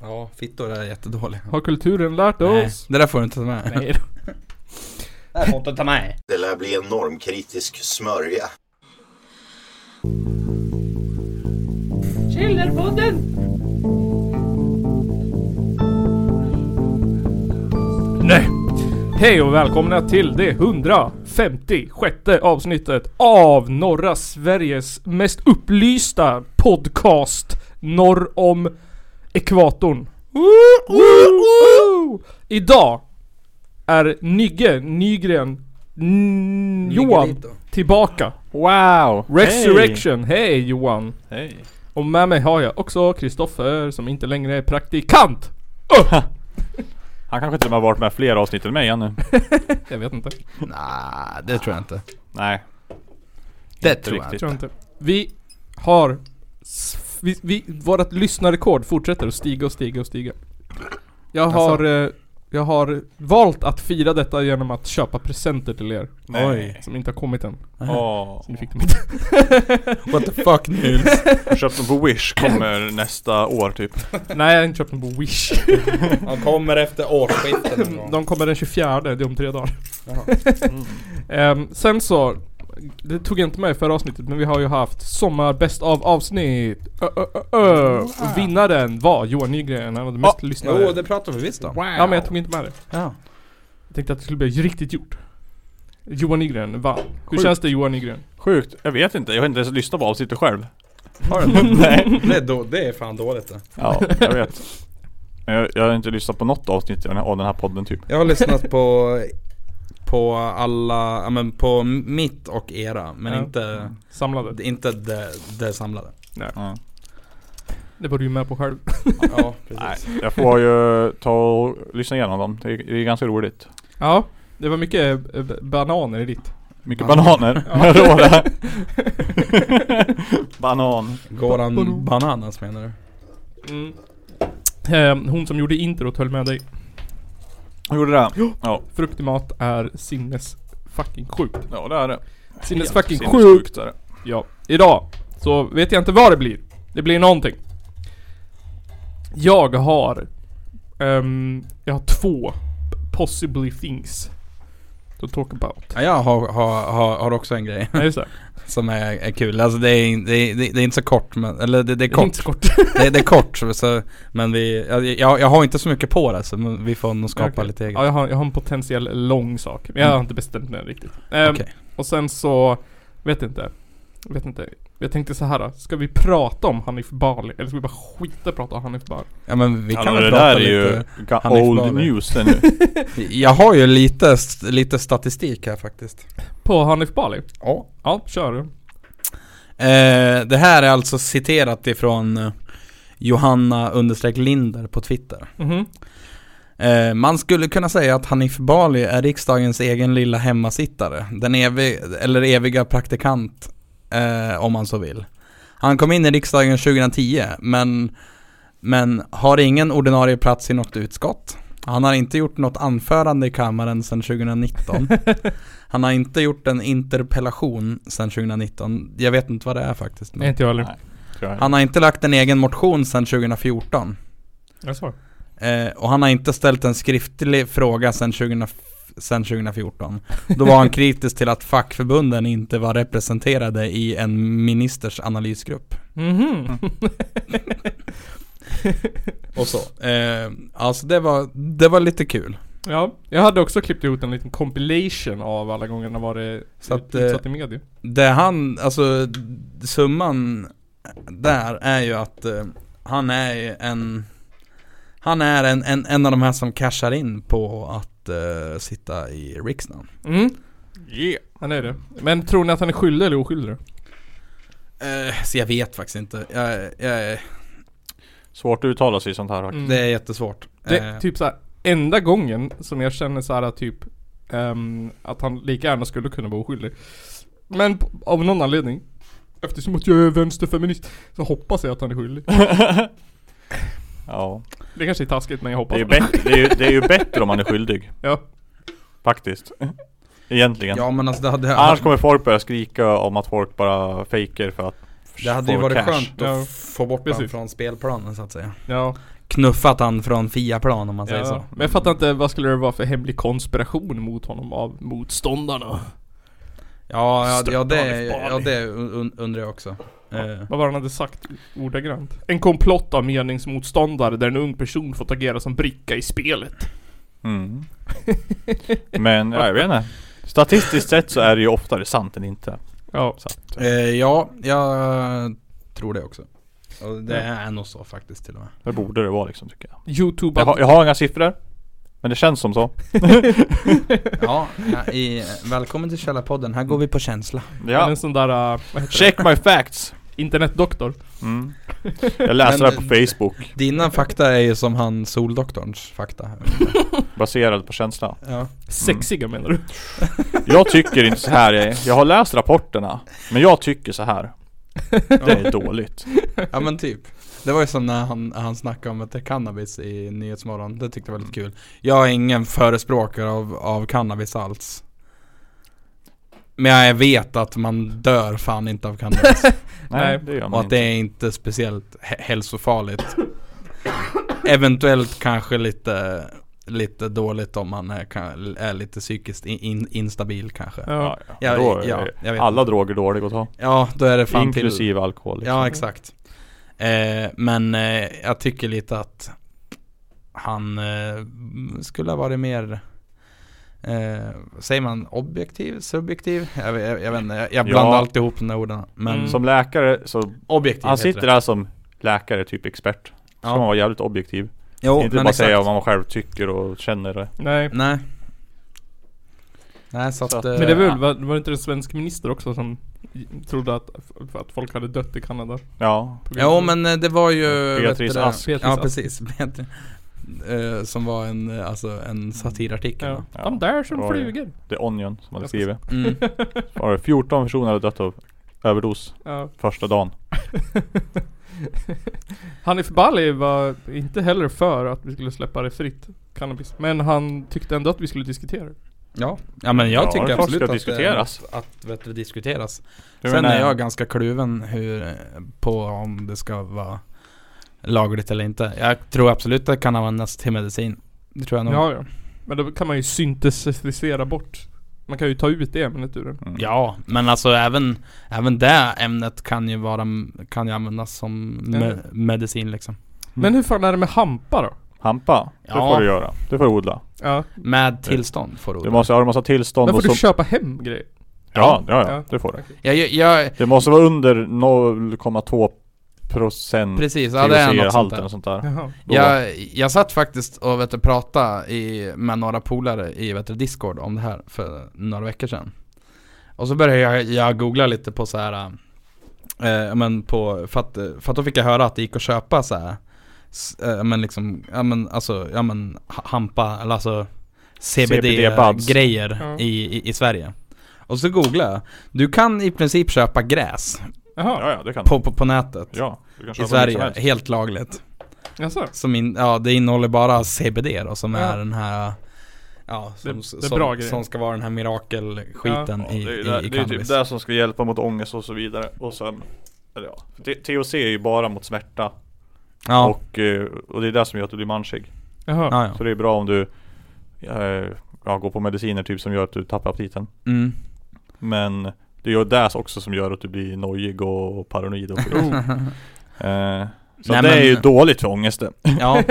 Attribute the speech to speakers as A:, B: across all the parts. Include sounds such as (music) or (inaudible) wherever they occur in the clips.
A: Ja, fittor är jättedåliga.
B: Har kulturen lärt
A: Nej,
B: oss?
A: det där får du inte ta med.
B: Nej då.
C: Det här får inte ta med.
D: Det lär bli en normkritisk smörja.
E: Källarpodden!
B: (laughs) Nej! Hej och välkomna till det 156 avsnittet av norra Sveriges mest upplysta podcast norr om ekvatorn. Woo! Idag är Nygge Nygren N- Johan
A: Nigelito.
B: tillbaka.
F: Wow!
B: Resurrection. Hej Johan!
F: Hej! Hey.
B: Och med mig har jag också Kristoffer som inte längre är praktikant.
F: Han kanske till och med har varit med fler avsnitt än mig än nu.
B: Jag vet inte.
A: Nej, det tror jag inte.
F: Nej.
A: Det
F: inte
A: tror jag
F: riktigt.
B: Tror jag inte. Vi har... s- Vi, vi, vårat lyssnarrekord fortsätter att stiga och stiga och stiga. Jag
A: Alltså.
B: har, eh, jag har valt att fira detta genom att köpa presenter till er.
F: Nej.
B: Som inte har kommit än.
F: (laughs) Åh.
B: Så ni fick
A: (laughs)
B: dem inte.
A: What the fuck Nils?
F: Jag köpte dem på Wish, kommer nästa år typ.
B: Nej, jag har inte köpt dem på
A: (laughs)
B: Wish.
A: (laughs) Han kommer efter årsskiftet någon gång.
B: De kommer den 24, det är om tre dagar.
A: Jaha.
B: (laughs) Ehm, sen så, det tog jag inte med i förra avsnittet men vi har ju haft sommar bäst av avsnitt. Ö, ö, ö, ö. Och vinnaren var Johan Nygren, han hade mest lyssnare.
A: Jo, det pratar vi visst om.
B: Ja men jag tog inte med det.
A: Ja.
B: Jag tänkte att det skulle bli riktigt gjort. Johan Nygren vann. Hur
F: Sjukt.
B: känns det Johan Nygren?
F: Sjukt. Jag vet inte, jag har inte ens lyssnat på avsnittet (laughs) själv.
A: Har du?
F: Nej.
A: det, är då, det är fan dåligt det.
F: Ja, jag vet. Men jag, jag har inte lyssnat på något avsnitt av den här- av den här podden typ.
A: Jag har lyssnat på på alla, ja men på mitt och era men
B: Ja.
A: inte,
B: Samlade.
A: inte det, det samlade.
F: Ja.
B: Det var du ju med på själv.
A: Ja,
F: Nej, jag får ju ta och lyssna igenom dem. Det är, det är ganska roligt.
B: Ja. Det var mycket eh, b- bananer i ditt.
F: Mycket
A: Banan.
F: bananer.
B: Ja.
F: (laughs) Råda. Banan.
A: Goran Bananas menar du?
B: Mm. Ehm, hon som gjorde introt höll med dig.
F: Jag gjorde det? Ja.
B: Frukt i mat är sinnes fucking sjukt.
F: Ja, det är det.
B: Sinnes fucking
F: Helt
B: sjukt.
F: är det.
B: Ja, idag så vet jag inte vad det blir. Det blir någonting. Jag har... ehm, jag har två possibly things to talk about.
A: Ja, jag har, har, har, har också en grej
B: Nej just det.
A: som är, är kul. Alltså det är, in- det, är, det är- det är inte så kort men, eller det, det är (laughs)
B: Det är
A: kort.
B: inte så kort.
A: Det, är- det är kort så- så, men vi, jag, jag, jag har inte så mycket på det så men vi får nog skapa
B: Okej.
A: lite eget.
B: Ja, jag har, jag har en potentiell lång sak. Men jag har
A: Mm.
B: inte bestämt mig än riktigt. Ehm,
A: Okej.
B: Och sen så... Vet inte. Vet inte. Jag tänkte så här. då. Ska vi prata om Hanif Bali? Eller ska vi bara skita i att prata om
A: (laughs)
B: Hanif Bali?
A: Ja men vi
F: Ja,
A: kan
F: men
A: väl
F: det där
A: prata
F: är ju
A: lite.
F: ga-
A: Hanif
F: old
A: Bali.
F: news det nu.
A: Jag har ju lite, st- lite statistik här faktiskt.
B: På Hanif Bali?
A: Ja.
B: Ja, kör.
A: Eh, det här är alltså citerat ifrån eh, Johanna understreck Linder på Twitter.
B: Mhm.
A: Eh, man skulle kunna säga att Hanif Bali är riksdagens egen lilla hemmasittare. Den evig, eller eviga praktikant, eh, om man så vill. Han kom in i riksdagen 2010, men, men har ingen ordinarie plats i något utskott. Han har inte gjort något anförande i kammaren sedan 2019. Han har inte gjort en interpellation sedan 2019. Jag vet inte vad det är faktiskt.
B: Nej,
A: Men.
B: inte jag heller.
F: Nej. tror jag.
A: Han har inte lagt en egen motion sedan 2014.
B: Jag sa det.
A: Eh, och han har inte ställt en skriftlig fråga sedan 20, sedan 2014. Då var han (laughs) kritisk till att fackförbunden inte var representerade i en ministers analysgrupp.
B: Mhm.
A: Mm. Och så. Eh, alltså det var, det var lite kul.
B: (laughs) Ja, jag hade också klippt ihop en liten compilation av alla gånger han varit
A: Så att, eh,
B: utsatt i media.
A: Det han, alltså summan där är ju att eh, han är ju en han är en, en, en av de här som cashar in på att eh, sitta i riksdagen.
B: Mm. Han är det. Men tror ni att han är skyldig eller oskyldig?
A: Eh, så jag vet faktiskt inte. Jag, jag,
F: Svårt att uttala sig i sånt här faktiskt.
B: Mm.
A: Det är jättesvårt.
B: Det
A: Eh,
B: är typ såhär, enda gången som jag känner såhär typ ehm, att han lika gärna skulle kunna vara oskyldig. Men p- av någon anledning, eftersom att jag är vänsterfeminist, så hoppas jag att han är skyldig.
F: (laughs) Ja.
B: Det kanske är taskigt men jag
F: Det
B: hoppas
F: är, ju bättre, det, är ju, det är ju bättre om man är skyldig.
B: Ja.
F: Faktiskt. Egentligen.
A: Ja men alltså det hade,
F: Annars kommer folk börja skrika om att folk bara fejker för att
A: det hade ju
F: få
A: varit
F: cash.
A: skönt att
B: Ja.
A: få bort
B: Precis.
A: den från spelplanen så att säga.
B: Ja.
A: knuffat han från Fiaplan om man säger så.
B: Men jag fattar inte, vad skulle det vara för hemlig konspiration mot honom av motståndarna?
A: Ja, ja, ja, det,
B: Störtbarlig.
A: ja det un- undrar jag också. Eh,
B: Vad var det han hade sagt ordagrant? En komplott av meningsmotståndare där en ung person fått agera som bricka i spelet.
A: (laughs)
F: Mm. Men ja, jag vet inte. Statistiskt sett så är det ju oftare sant än inte.
B: Ja.
F: Så att,
A: eh, ja, jag tror det också. Och det är nog så faktiskt till och med.
F: det borde det vara liksom tycker jag.
B: Youtube
F: Jag har, jag har inga siffror. Men det känns som så.
A: Ja, ja, i, välkommen till Källarpodden. Här går vi på känsla.
B: ja.
F: Ja.
B: en sån där, äh, vad heter
F: Check my facts!
B: det? Internetdoktor.
F: Mm. Jag läser det
A: Men-
F: här på Facebook.
A: Dina fakta är ju som han Soldoktorns fakta.
F: Baserad på känsla.
A: Ja.
B: Sexiga menar du?
F: Jag tycker inte så här. Jag, jag har läst rapporterna. Men jag tycker så här. Det är dåligt.
A: ja men typ. Det var ju som när han, han snackade om att det är cannabis i Nyhetsmorgon. Det tyckte jag var lite kul. Jag är ingen förespråkare av, av cannabis alls. Men jag vet att man dör fan inte av cannabis.
F: Nej,
B: Nej,
F: det gör
A: Och
F: (laughs) man
A: att det
F: inte.
A: är inte speciellt hä- hälsofarligt. Eventuellt kanske lite, lite dåligt om man är, kan- är lite psykiskt in, in, instabil kanske.
F: Ja, ja.
A: Ja,
F: Då är
A: ja, jag vet
F: alla droger dåliga att ta.
A: Ja, då är det fan till...
F: Inklusive alkohol. Liksom.
A: Ja, exakt. Eh, men eh, jag tycker lite att han eh, skulle ha varit mer Eh, säger man objektiv? Subjektiv? Jag, vet- jag, jag vet inte, jag, jag
F: Ja.
A: blandar alltid ihop de där orden. Men
B: Mm.
F: Som läkare så
A: objektiv
F: Han
A: heter
F: sitter
A: det.
F: där som läkare, typ expert. Ska
A: Ja.
F: man vara jävligt objektiv.
A: Jo,
F: inte
A: men
F: bara
A: exakt.
F: säga vad man själv tycker och känner. Det.
B: Nej.
A: Nej. Nej, så,
F: Så
A: att...
F: att-
A: eh,
B: Men det var väl, var, var det inte en svensk minister också som i- trodde att, för att folk hade dött i Kanada?
F: Ja.
B: På grund
A: Jo
B: av-
A: men eh, det var ju...
F: Beatrice
A: vet du det?
F: Ask.
B: Beatrice
A: Ja
B: Ask.
A: precis. Beatrice. Eh, som var en, eh, alltså, en satirartikel.
B: Ja.
F: Ja.
B: De där som
F: Oj.
B: flyger.
F: The Onion som hade
B: Jag
F: skrivit.
A: Mm.
F: Var det 14 personer hade dött av överdos
B: Ja.
F: första dagen.
B: Hanif Bali var inte heller för att vi skulle släppa det fritt, cannabis. Men han tyckte ändå att vi skulle diskutera det.
A: Ja. ja men jag
F: Ja, det är
A: tycker
F: klart
A: absolut
F: ska
A: att
F: diskuteras.
A: Det, att vet du, diskuteras.
F: Jag
A: Sen
F: menar,
A: är jag ganska kluven hur, eh, på om det ska vara lagligt eller inte. Jag tror absolut det kan användas till medicin. Det tror jag nog.
B: Ja, ja. Men då kan man ju syntesisera bort. Man kan ju ta ut det ämnet ur den.
F: mm.
A: Ja, men alltså även, även det ämnet kan ju, vara, kan ju användas som me- medicin liksom.
B: Men hur fan är det med hampa då?
F: Hampa, det
A: Ja.
F: får du göra. Det får du odla.
B: Ja.
A: Med tillstånd får du
F: Du måste ha en massa tillstånd
B: Då får
F: och
B: du
F: så...
B: köpa hem grejer.
F: Ja, ja, ja,
B: Ja.
F: det får du.
A: jag, jag, jag,
F: Det måste vara under 0,2 procent
A: Precis, ja det är något sånt
F: halten
A: där.
F: och sånt där.
B: Jaha.
F: Då-
A: Jag, jag satt faktiskt och vet du, pratade i, med några polare i vet du, Discord om det här för några veckor sedan. Och så började jag, jag googla lite på så här eh, men på, för, att, för att då fick jag höra att det gick att köpa så här s- eh, men liksom, ja men alltså, ja men ha- hampa, eller alltså
F: CBD-buds.
A: CBD-grejer
B: Ja.
A: i, i, i Sverige. Och så googlade jag. Du kan i princip köpa gräs
B: Jaha.
F: Ja, ja, det kan du.
A: på, på, på nätet.
F: Ja, du kan köpa
A: I
F: hur som
A: Sverige,
F: helst.
A: helt lagligt.
B: Jaså?
A: Som in, ja, det innehåller bara CBD då, som
B: Ja.
A: är den här Ja, som,
B: Det- det är
A: som,
B: bra grejer.
A: som ska vara den här mirakelskiten
F: Ja,
A: i,
F: det är ju
A: i,
F: där-
A: i
F: Det är ju
A: cannabis.
F: typ det som ska hjälpa mot ångest och så vidare och sen eller ja, T- THC är ju bara mot smärta
A: ja,
F: och, eh, och det är det som gör att du blir manschig
B: Jaha.
A: ja,
F: Så
A: ja.
F: det är bra om du eh, ja, går på mediciner typ som gör att du tappar aptiten
A: Mm.
F: Men det är ju det också som gör att du blir nojig och paranoid
A: (laughs)
F: och skit eh, Så
A: Oh. Nej,
F: det är
A: men-
F: ju dåligt för ångesten
A: ja.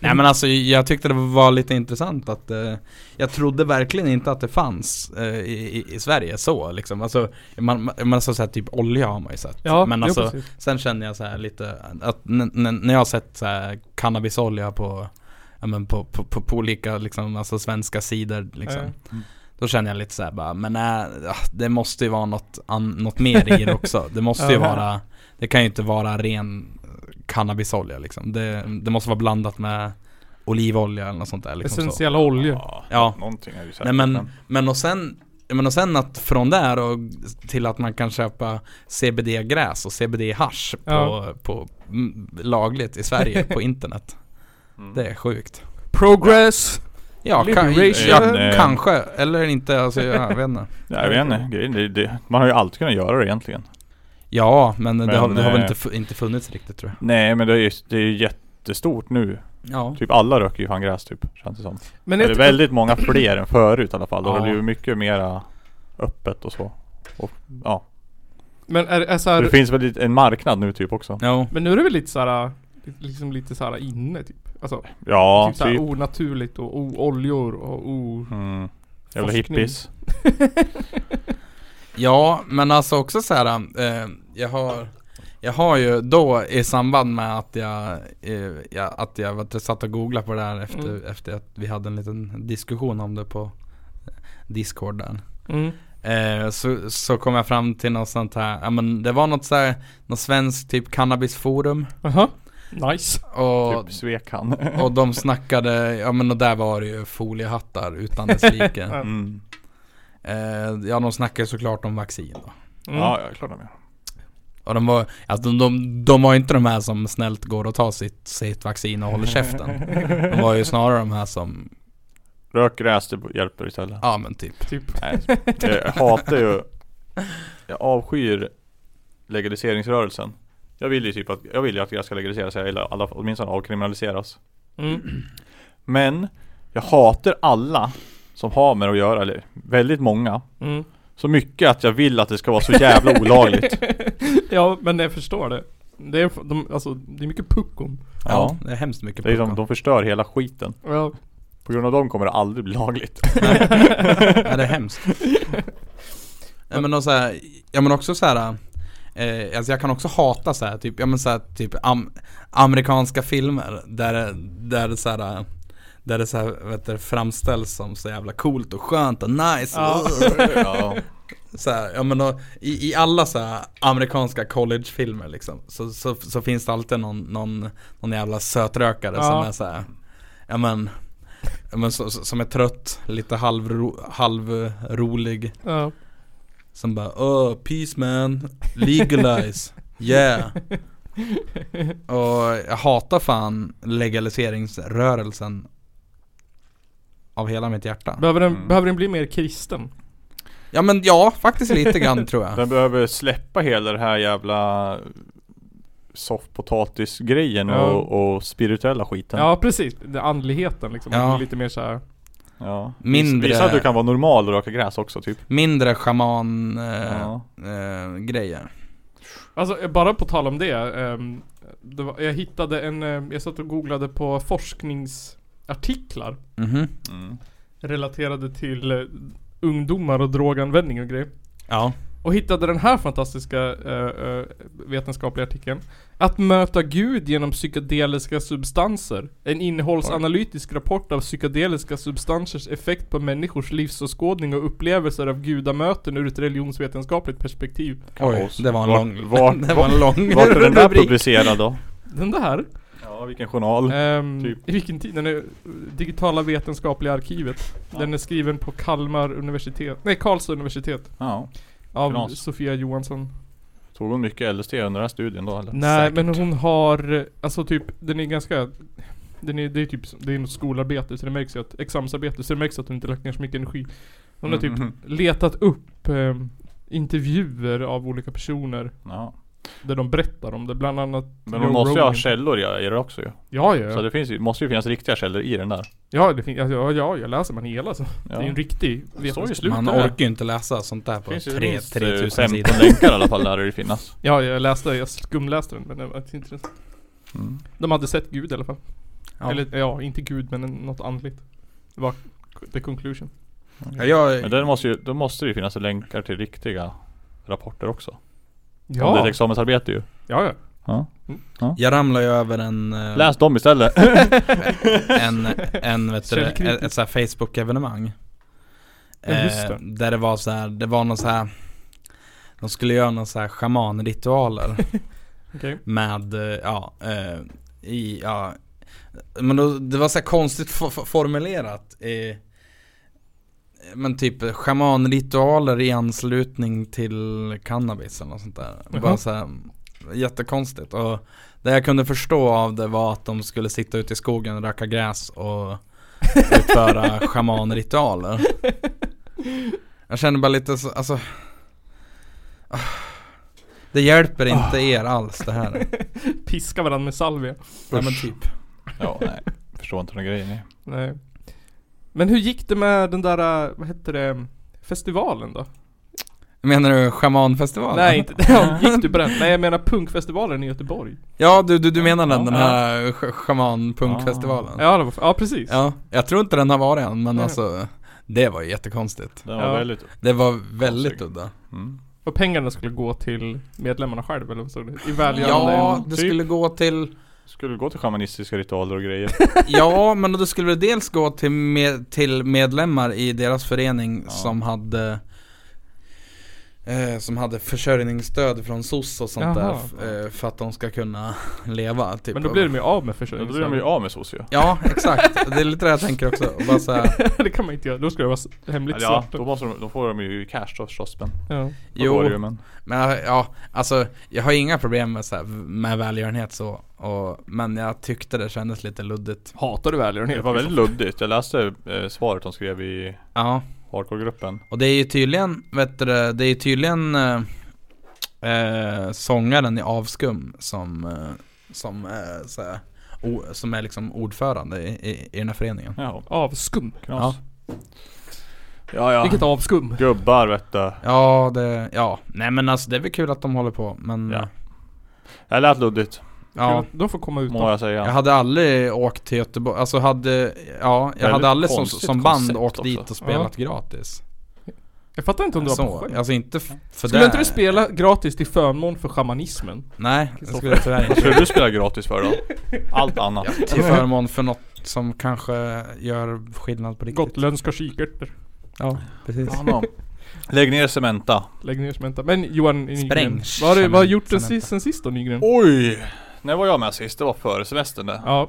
A: Nej men alltså jag tyckte det var lite intressant att eh, Jag trodde verkligen inte att det fanns eh, i, i, i Sverige så liksom Alltså, man, man, man så här, typ olja har man ju sett
B: Ja,
A: Men
B: jo,
A: alltså,
B: precis.
A: Sen känner jag så här lite att n- n- när jag har sett så här cannabisolja på, ja, men på, på, på, på olika liksom, alltså svenska sidor liksom.
B: Ja.
F: Mm.
A: Då känner jag lite så här bara, men nej, ah, det måste ju vara något, an, något mer i det också. Det måste ju
B: Ja.
A: vara, det kan ju inte vara ren cannabisolja liksom. Det, det måste vara blandat med olivolja eller något sånt där liksom. Så.
B: Essentiella oljor.
F: Ja,
A: Ja.
F: någonting är ju säkert
A: Nej men, men och sen men och sen att från där och till att man kan köpa CBD-gräs och CBD-hasch på,
B: Ja.
A: på, mm, lagligt i Sverige på internet. (laughs)
F: Mm.
A: Det är sjukt.
B: Progress!
A: Ja, kan,
B: Liberation.
A: ja
F: Eh,
A: kanske, eller inte, alltså, jag vet (laughs) inte.
F: Nej, jag vet inte, Grejen- det, det, man har ju alltid kunnat göra det egentligen
A: Ja, men, det, har, det har väl
F: eh,
A: inte, fu- inte funnits riktigt tror jag.
F: Nej men det är ju, det är ju jätte jättestort nu.
A: Ja.
F: Typ alla röker ju fan gräs typ, känns det som.
B: Men
F: Det är typ-
B: ett,
F: väldigt många fler än förut i alla fall. Då
A: Ja.
F: är det ju mycket mera öppet och så. Och, ja.
B: men är, är så
F: Det
B: här,
F: finns väl lite- en marknad nu typ också.
A: Jo.
B: Men nu är det väl lite såhär, liksom lite såhär inne typ? Alltså,
F: Ja,
B: typ såhär
F: typ.
B: onaturligt och oljor och o...
F: Mm. Jävla
B: Forskning.
F: hippies.
A: Ja, men alltså också så här, eh, jag har jag har ju då i samband med att jag, eh, jag, att jag var, satt och googlade på det här efter,
B: Mm.
A: efter att vi hade en liten diskussion om det på Discord där.
B: Mm.
A: Eh, så, så kom jag fram till något sånt här, ja men det var något så här, något svenskt typ cannabisforum.
B: Aha. Nice.
A: Och,
F: Typ svek han. (laughs)
A: och de snackade, ja men och där var det ju foliehattar utan dess like.
F: Mm.
A: eh, ja de snackade såklart om vaccin då.
B: Mm.
F: Ja, jag är klar med.
A: Och de var, alltså de, de, de var ju inte de här som snällt går och tar sitt, sitt vaccin och håller käften. De var ju snarare de här som,
F: Rök gräs, det hjälper istället.
A: ja men typ.
B: Typ.
F: Nej, jag Eh, hatar ju Jag avskyr legaliseringsrörelsen Jag vill ju typ att, jag vill ju att gräs ska legaliseras eller i alla, fall- åtminstone avkriminaliseras
B: Mm.
F: Men jag hatar alla som har med det att göra, eller väldigt många
B: Mm.
F: Så mycket att jag vill att det ska vara så (laughs) jävla olagligt
B: (laughs) ja, men jag förstår det. Det är, de, alltså, det är mycket puckon.
A: Ja,
F: Ja.
A: det är hemskt mycket
F: det är liksom,
A: puckon.
F: De förstör hela skiten
B: Ja.
F: På grund av dem kommer det aldrig bli lagligt
A: (laughs) Ja, det är hemskt. ja, men, och så här, ja, men också så här. Eh, alltså jag kan också hata så här, typ, ja, men så här, typ am- amerikanska filmer där, där det så här där det så här, vet du, framställs som så jävla coolt och skönt och nice
B: Ja.
F: ja.
A: så här, ja, men då, i, I alla så här amerikanska collegefilmer liksom så, så, så finns det alltid någon, någon, någon jävla sötrökare
B: Ja.
A: som är så här, ja men, ja, men så, så, som är trött, lite halvro, halvrolig
B: ja.
A: Som bara oh, peace man, legalize, yeah Och jag hatar fan legaliseringsrörelsen Av hela mitt hjärta
B: Behöver, den,
F: Mm.
B: behöver den bli mer kristen?
A: Ja men ja, faktiskt lite grann tror
F: (laughs)
A: jag
F: Den behöver släppa hela det här jävla Soffpotatis-grejen
B: Ja.
F: och, och spirituella skiten
B: Ja, precis. Det, andligheten liksom.
A: Ja.
B: Lite mer såhär...
F: Ja.
A: Mindre-
F: Visa att du kan vara normal och röka gräs också typ.
A: Mindre shaman eh,
F: Ja.
A: eh, grejer
B: Alltså eh, bara på tal om det. ehm, det var, jag hittade en, eh, jag satt och googlade på forskningsartiklar
A: Mhm
F: Mm.
B: relaterade till eh, ungdomar och droganvändning och grejer.
A: Ja,
B: Och hittade den här fantastiska eh, eh, vetenskapliga artikeln. Att möta Gud genom psykedeliska substanser. En innehållsanalytisk rapport av psykedeliska substansers effekt på människors livsåskådning och upplevelser av gudamöten ur ett religionsvetenskapligt perspektiv.
A: oj,
F: Kaos.
A: det var en
F: Vart-
A: lång (laughs)
F: vart-
A: Det var en lång
F: Vart är den där
A: rubrik.
F: publicerad då?
B: Den där
F: Ja, vilken journal.
B: Ehm,
F: Typ.
B: I vilken tid? Den är Digitala vetenskapliga arkivet. Den är skriven på Kalmar universitet, nej Karlstad universitet.
F: Ja.
B: Av
F: Knas.
B: Sofia Johansson.
F: Tog hon mycket LSD under den här studien då eller?
B: Nej
F: Säkert.
B: men hon har, alltså typ, den är ganska den är, det är typ, som- det är något skolarbete så det märks ju att, examensarbete så det märks att hon inte lagt ner så mycket energi. Hon har
F: Mm,
B: typ
F: mhm.
B: letat upp ehm, intervjuer av olika personer
F: Ja.
B: där de berättar om det, bland annat
F: Men
B: Joe
F: hon måste ju ha
B: Rogan.
F: källor i i det också ju.
B: Ja
F: Så
B: ja,
F: det finns, ju- måste ju finnas riktiga källor i den där.
B: ja, det fin- ja, ja, ja, jag läser man hela så. Det är en
F: Ja.
B: riktig
F: Det står ju i
B: vetenskap.
F: slutet
A: Man
F: där.
A: orkar ju inte läsa sånt där
F: Det
A: på
F: finns ju
A: 3
F: minst eh,
A: 3000 sidor
F: 15 länkar i alla fall där det finnas.
B: Ja, jag läste, jag skumläste den men det var inte intressant.
F: Mm.
B: De hade sett Gud i alla fall.
A: Ja.
B: Eller ja, inte Gud men en- något andligt. Det var the conclusion.
A: Ja, jag,
F: Men den måste ju, då måste det ju finnas länkar till riktiga rapporter också. Om det är ett
B: Ja,
F: examensarbete ju.
B: ja, ja.
A: jag ramlar ju över en eh,
F: Läs dem istället.
A: en, en
F: (laughs)
A: vet du,
B: Källkritisk.
A: ett, ett så här Facebook-evenemang.
B: Ja, just
A: Eh,
B: det.
A: där det var så här, det var någon så här de skulle göra någon så här shamanritualer
B: Okej.
A: med, eh, ja, eh, i, ja Men då, det var så här konstigt fo- fo- formulerat eh, Men typ eh, shamanritualer i anslutning till cannabis eller något sånt där Bara
B: Jaha.
A: så här, Jättekonstigt och det jag kunde förstå av det var att de skulle sitta ute i skogen och röka gräs och utföra shamanritualer Jag känner bara lite så, alltså Det hjälper inte er alls det här.
B: Piska varandra med salvia.
A: Nej men typ.
F: Ja, nej. Förstår inte den grejen. nej.
B: Nej. Men hur gick det med den där, eh, vad hette det, festivalen då?
A: Menar du schamanfestivalen?
B: Nej inte den, gick du på den? Nej jag menar punkfestivalen i Göteborg.
A: Ja du, du, du menar den,
F: Ja.
A: den här sch- schamanpunkfestivalen?
B: Ja, det var, ja precis.
A: ja. Jag tror inte den har varit än men
B: Nej.
A: alltså Det var ju jättekonstigt.
F: Den
B: Ja.
F: var väldigt...
A: Det var väldigt
F: Konstigt.
A: udda.
F: Mm.
B: Och pengarna skulle gå till medlemmarna själv eller vad stod det? I välgörande
A: Ja,
B: ändamål.
A: det
F: typ.
A: skulle gå till
F: Skulle gå till shamanistiska ritualer och grejer.
A: Ja, men då skulle det dels gå till, med, till medlemmar i deras förening
F: Ja.
A: som hade eh, Som hade försörjningsstöd från SOS och sånt
B: Jaha.
A: där f- eh, För att de ska kunna leva typ.
B: Men då blir de ju av med liksom.
F: Då blir de
B: försörjningsstödet.
F: ju av med socio.
A: Ja, exakt. Det är lite det jag tänker också. Och Bara så här,
B: (laughs) det kan man inte göra, då skulle det vara s- hemligt
F: Ja,
B: svart.
F: då, måste de, då får de ju cash då förstås men.
B: Ja.
F: Då går det ju,
A: jo,
F: men.
A: men ja, alltså jag har inga problem med, så här, med välgörenhet så och, Men jag tyckte det kändes lite luddigt
B: Hatar du välgörenhet?
F: Det var väldigt luddigt. Jag läste eh, svaret de skrev i
A: Ja,
F: hardcore-gruppen.
A: och det är ju tydligen, vet du, det det är ju tydligen eh, eh, sångaren i Avskum som, eh, som, eh, så här, o, som är liksom ordförande i, i, i den här föreningen
F: Jaha,
B: Avskum.
F: knas. Ja, ja.
B: Vilket avskum?
F: Gubbar vet du.
A: Ja, det, ja, nej men alltså det är väl kul att de håller på men
F: Ja. Jag lät luddigt,
A: ja.
B: De får komma ut.
F: må jag säga.
A: Jag hade aldrig åkt till Göteborg, alltså hade, ja, jag
F: Väldigt
A: hade aldrig som,
F: konstigt
A: som band
F: koncept
A: åkt
F: också.
A: dit och spelat gratis.
B: Jag fattar inte om du var på
A: Så,
B: skämt.
A: alltså inte f- för
B: Skulle
A: det.
B: inte du spela gratis till förmån för shamanismen?
A: Nej, det skulle jag tyvärr
F: Vad
A: inte.
F: skulle du spela gratis för då? Allt annat.
A: Ja,
B: (laughs)
A: till förmån för något som kanske gör skillnad på riktigt.
B: Gotländska kikärtor.
A: Ja, precis.
F: Honom. Lägg ner Cementa.
B: Lägg ner Cementa. Men Johan Nygren.
A: Spräng
B: Vad har du vad har du gjort den
A: Cementa.
B: sist, sen sist då Nygren?
F: Oj! När var jag med sist? Det var före semestern det.
A: (laughs)
B: Ja.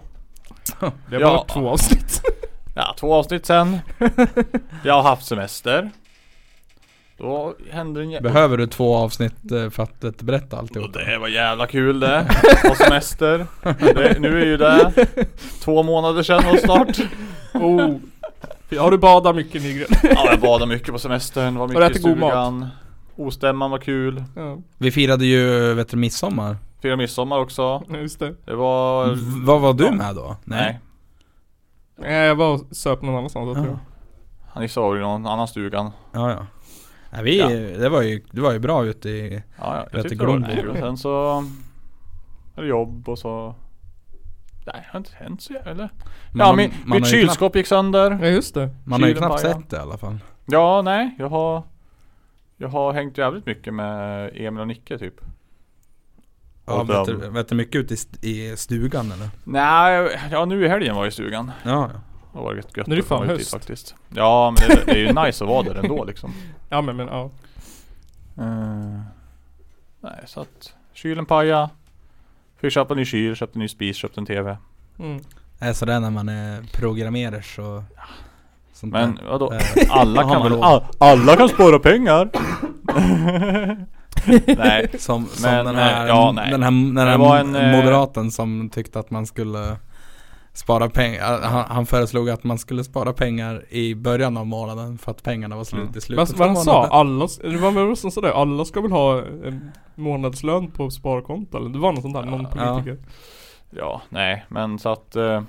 B: Det har
F: Ja.
B: bara två avsnitt.
F: Ja, två avsnitt sen.
A: (laughs)
F: Jag har haft semester. Då hände en jävla...
A: Behöver du två avsnitt eh, för att eh, berätta alltihop?
F: Det var jävla kul det. Ha semester. Det, nu är ju det två månader sedan och snart.
B: oh. Har du badat mycket Nygren?
F: Ja, jag badade mycket på semestern. Var mycket i
B: ätit god mat?
F: stugan. Ostämman var kul.
B: Ja,
A: Vi firade ju, vet du, midsommar.
F: Firade midsommar också.
B: just det.
F: Det var...
A: V- vad var du med då?
F: Nej.
B: Nej, jag var och söp någon annanstans jag tror jag.
F: Han sov i någon annan stugan.
A: Ja, ja. Nej, vi,
F: Ja.
A: Det, var ju, det var ju bra ute i...
F: Ja, ja, jag
A: Lät
F: tyckte det var
A: glad.
F: kul. Sen så... Är det jobb och så... Nej, det har inte hänt så jävla... Eller?
A: Man
F: Ja,
A: har-
F: min,
A: man
F: mitt
A: har ju
F: kylskåp gick sönder.
B: Ja, just det.
A: knappt- Man har ju
F: kylen
A: knappt
F: pajade.
A: sett det i alla fall.
F: Ja, nej. Jag har... Jag har hängt jävligt mycket med Emil och Nicke typ.
A: Ja,
F: Och
A: vet,
F: dem.
A: du, vet du mycket ute i, st- i stugan eller?
F: Nej, ja nu i helgen var jag i stugan.
A: Ja, ja.
F: Det var rätt gött
B: Nu är det
F: att komma
B: fan
F: ut dit
B: höst.
F: faktiskt. Ja, men det, det är ju nice att vara där ändå liksom.
B: Ja men, men ja.
F: Eh, nej, så att... Kylen pajade. Fick köpa en ny kyl, köpte en ny spis, köpte en TV.
B: Mm.
A: Nej, så det är när man är programmerare så... Sånt
F: Men
A: där.
F: vadå?
A: Eh,
F: Alla
A: Då har
F: kan
A: man
F: väl,
A: råd.
F: all, alla kan spara pengar! (laughs) Nej,
A: Som, som
F: Men,
A: den, här,
F: eh, ja, nej.
A: den här, den
F: Det
A: här
F: var en, eh,
A: moderaten som tyckte att man skulle spara pengar, han, han föreslog att man skulle spara pengar i början av månaden för att pengarna var slut
F: Mm.
A: i
B: Vad
A: slutet
B: vad
A: av
B: han sa?
A: månaden.
B: Alla, s- det var väl som sådär, alla ska väl ha en månadslön på sparkonto eller? Det var något sånt där, någon
A: Ja.
B: politiker.
F: ja, nej, men så att eh,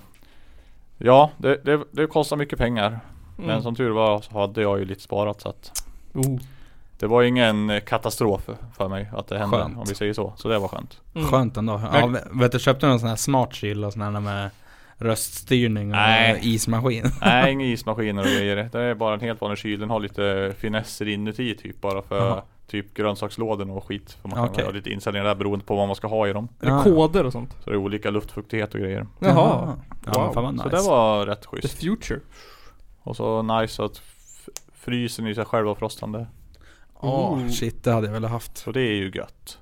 F: Ja, det, det, det kostar mycket pengar.
B: Mm.
F: Men som tur var så hade jag ju lite sparat så att
B: Oh.
F: Det var ingen eh, katastrof för mig att det hände
A: Skönt.
F: om vi säger så. Så det
A: (laughs)
F: var skönt.
B: Mm.
A: Skönt ändå. Ja,
B: Men-
A: vet- vet du, köpte du någon sån här smart kyl och sån här med röststyrning och
F: Nej.
A: ismaskin?
F: (laughs) Nej, inga ismaskiner och grejer. Det är bara en helt vanlig kyl. Den har lite finesser inuti typ bara för
A: Jaha.
F: Typ grönsakslådor och skit. För man kan
A: Okej.
F: ha lite inställningar där beroende på vad man ska ha i dem.
B: Eller
A: Ja.
B: koder och sånt.
F: Så det är olika luftfuktighet och grejer.
B: Jaha.
A: Ja,
B: Wow.
A: men fan vad
F: Så
A: nice.
F: det var rätt
B: The
F: schysst.
B: future.
F: Och så nice att f- frysen i sig själv var frostande.
A: Åh,
B: Ooh.
A: shit, det hade jag velat haft.
F: Så det är ju gött.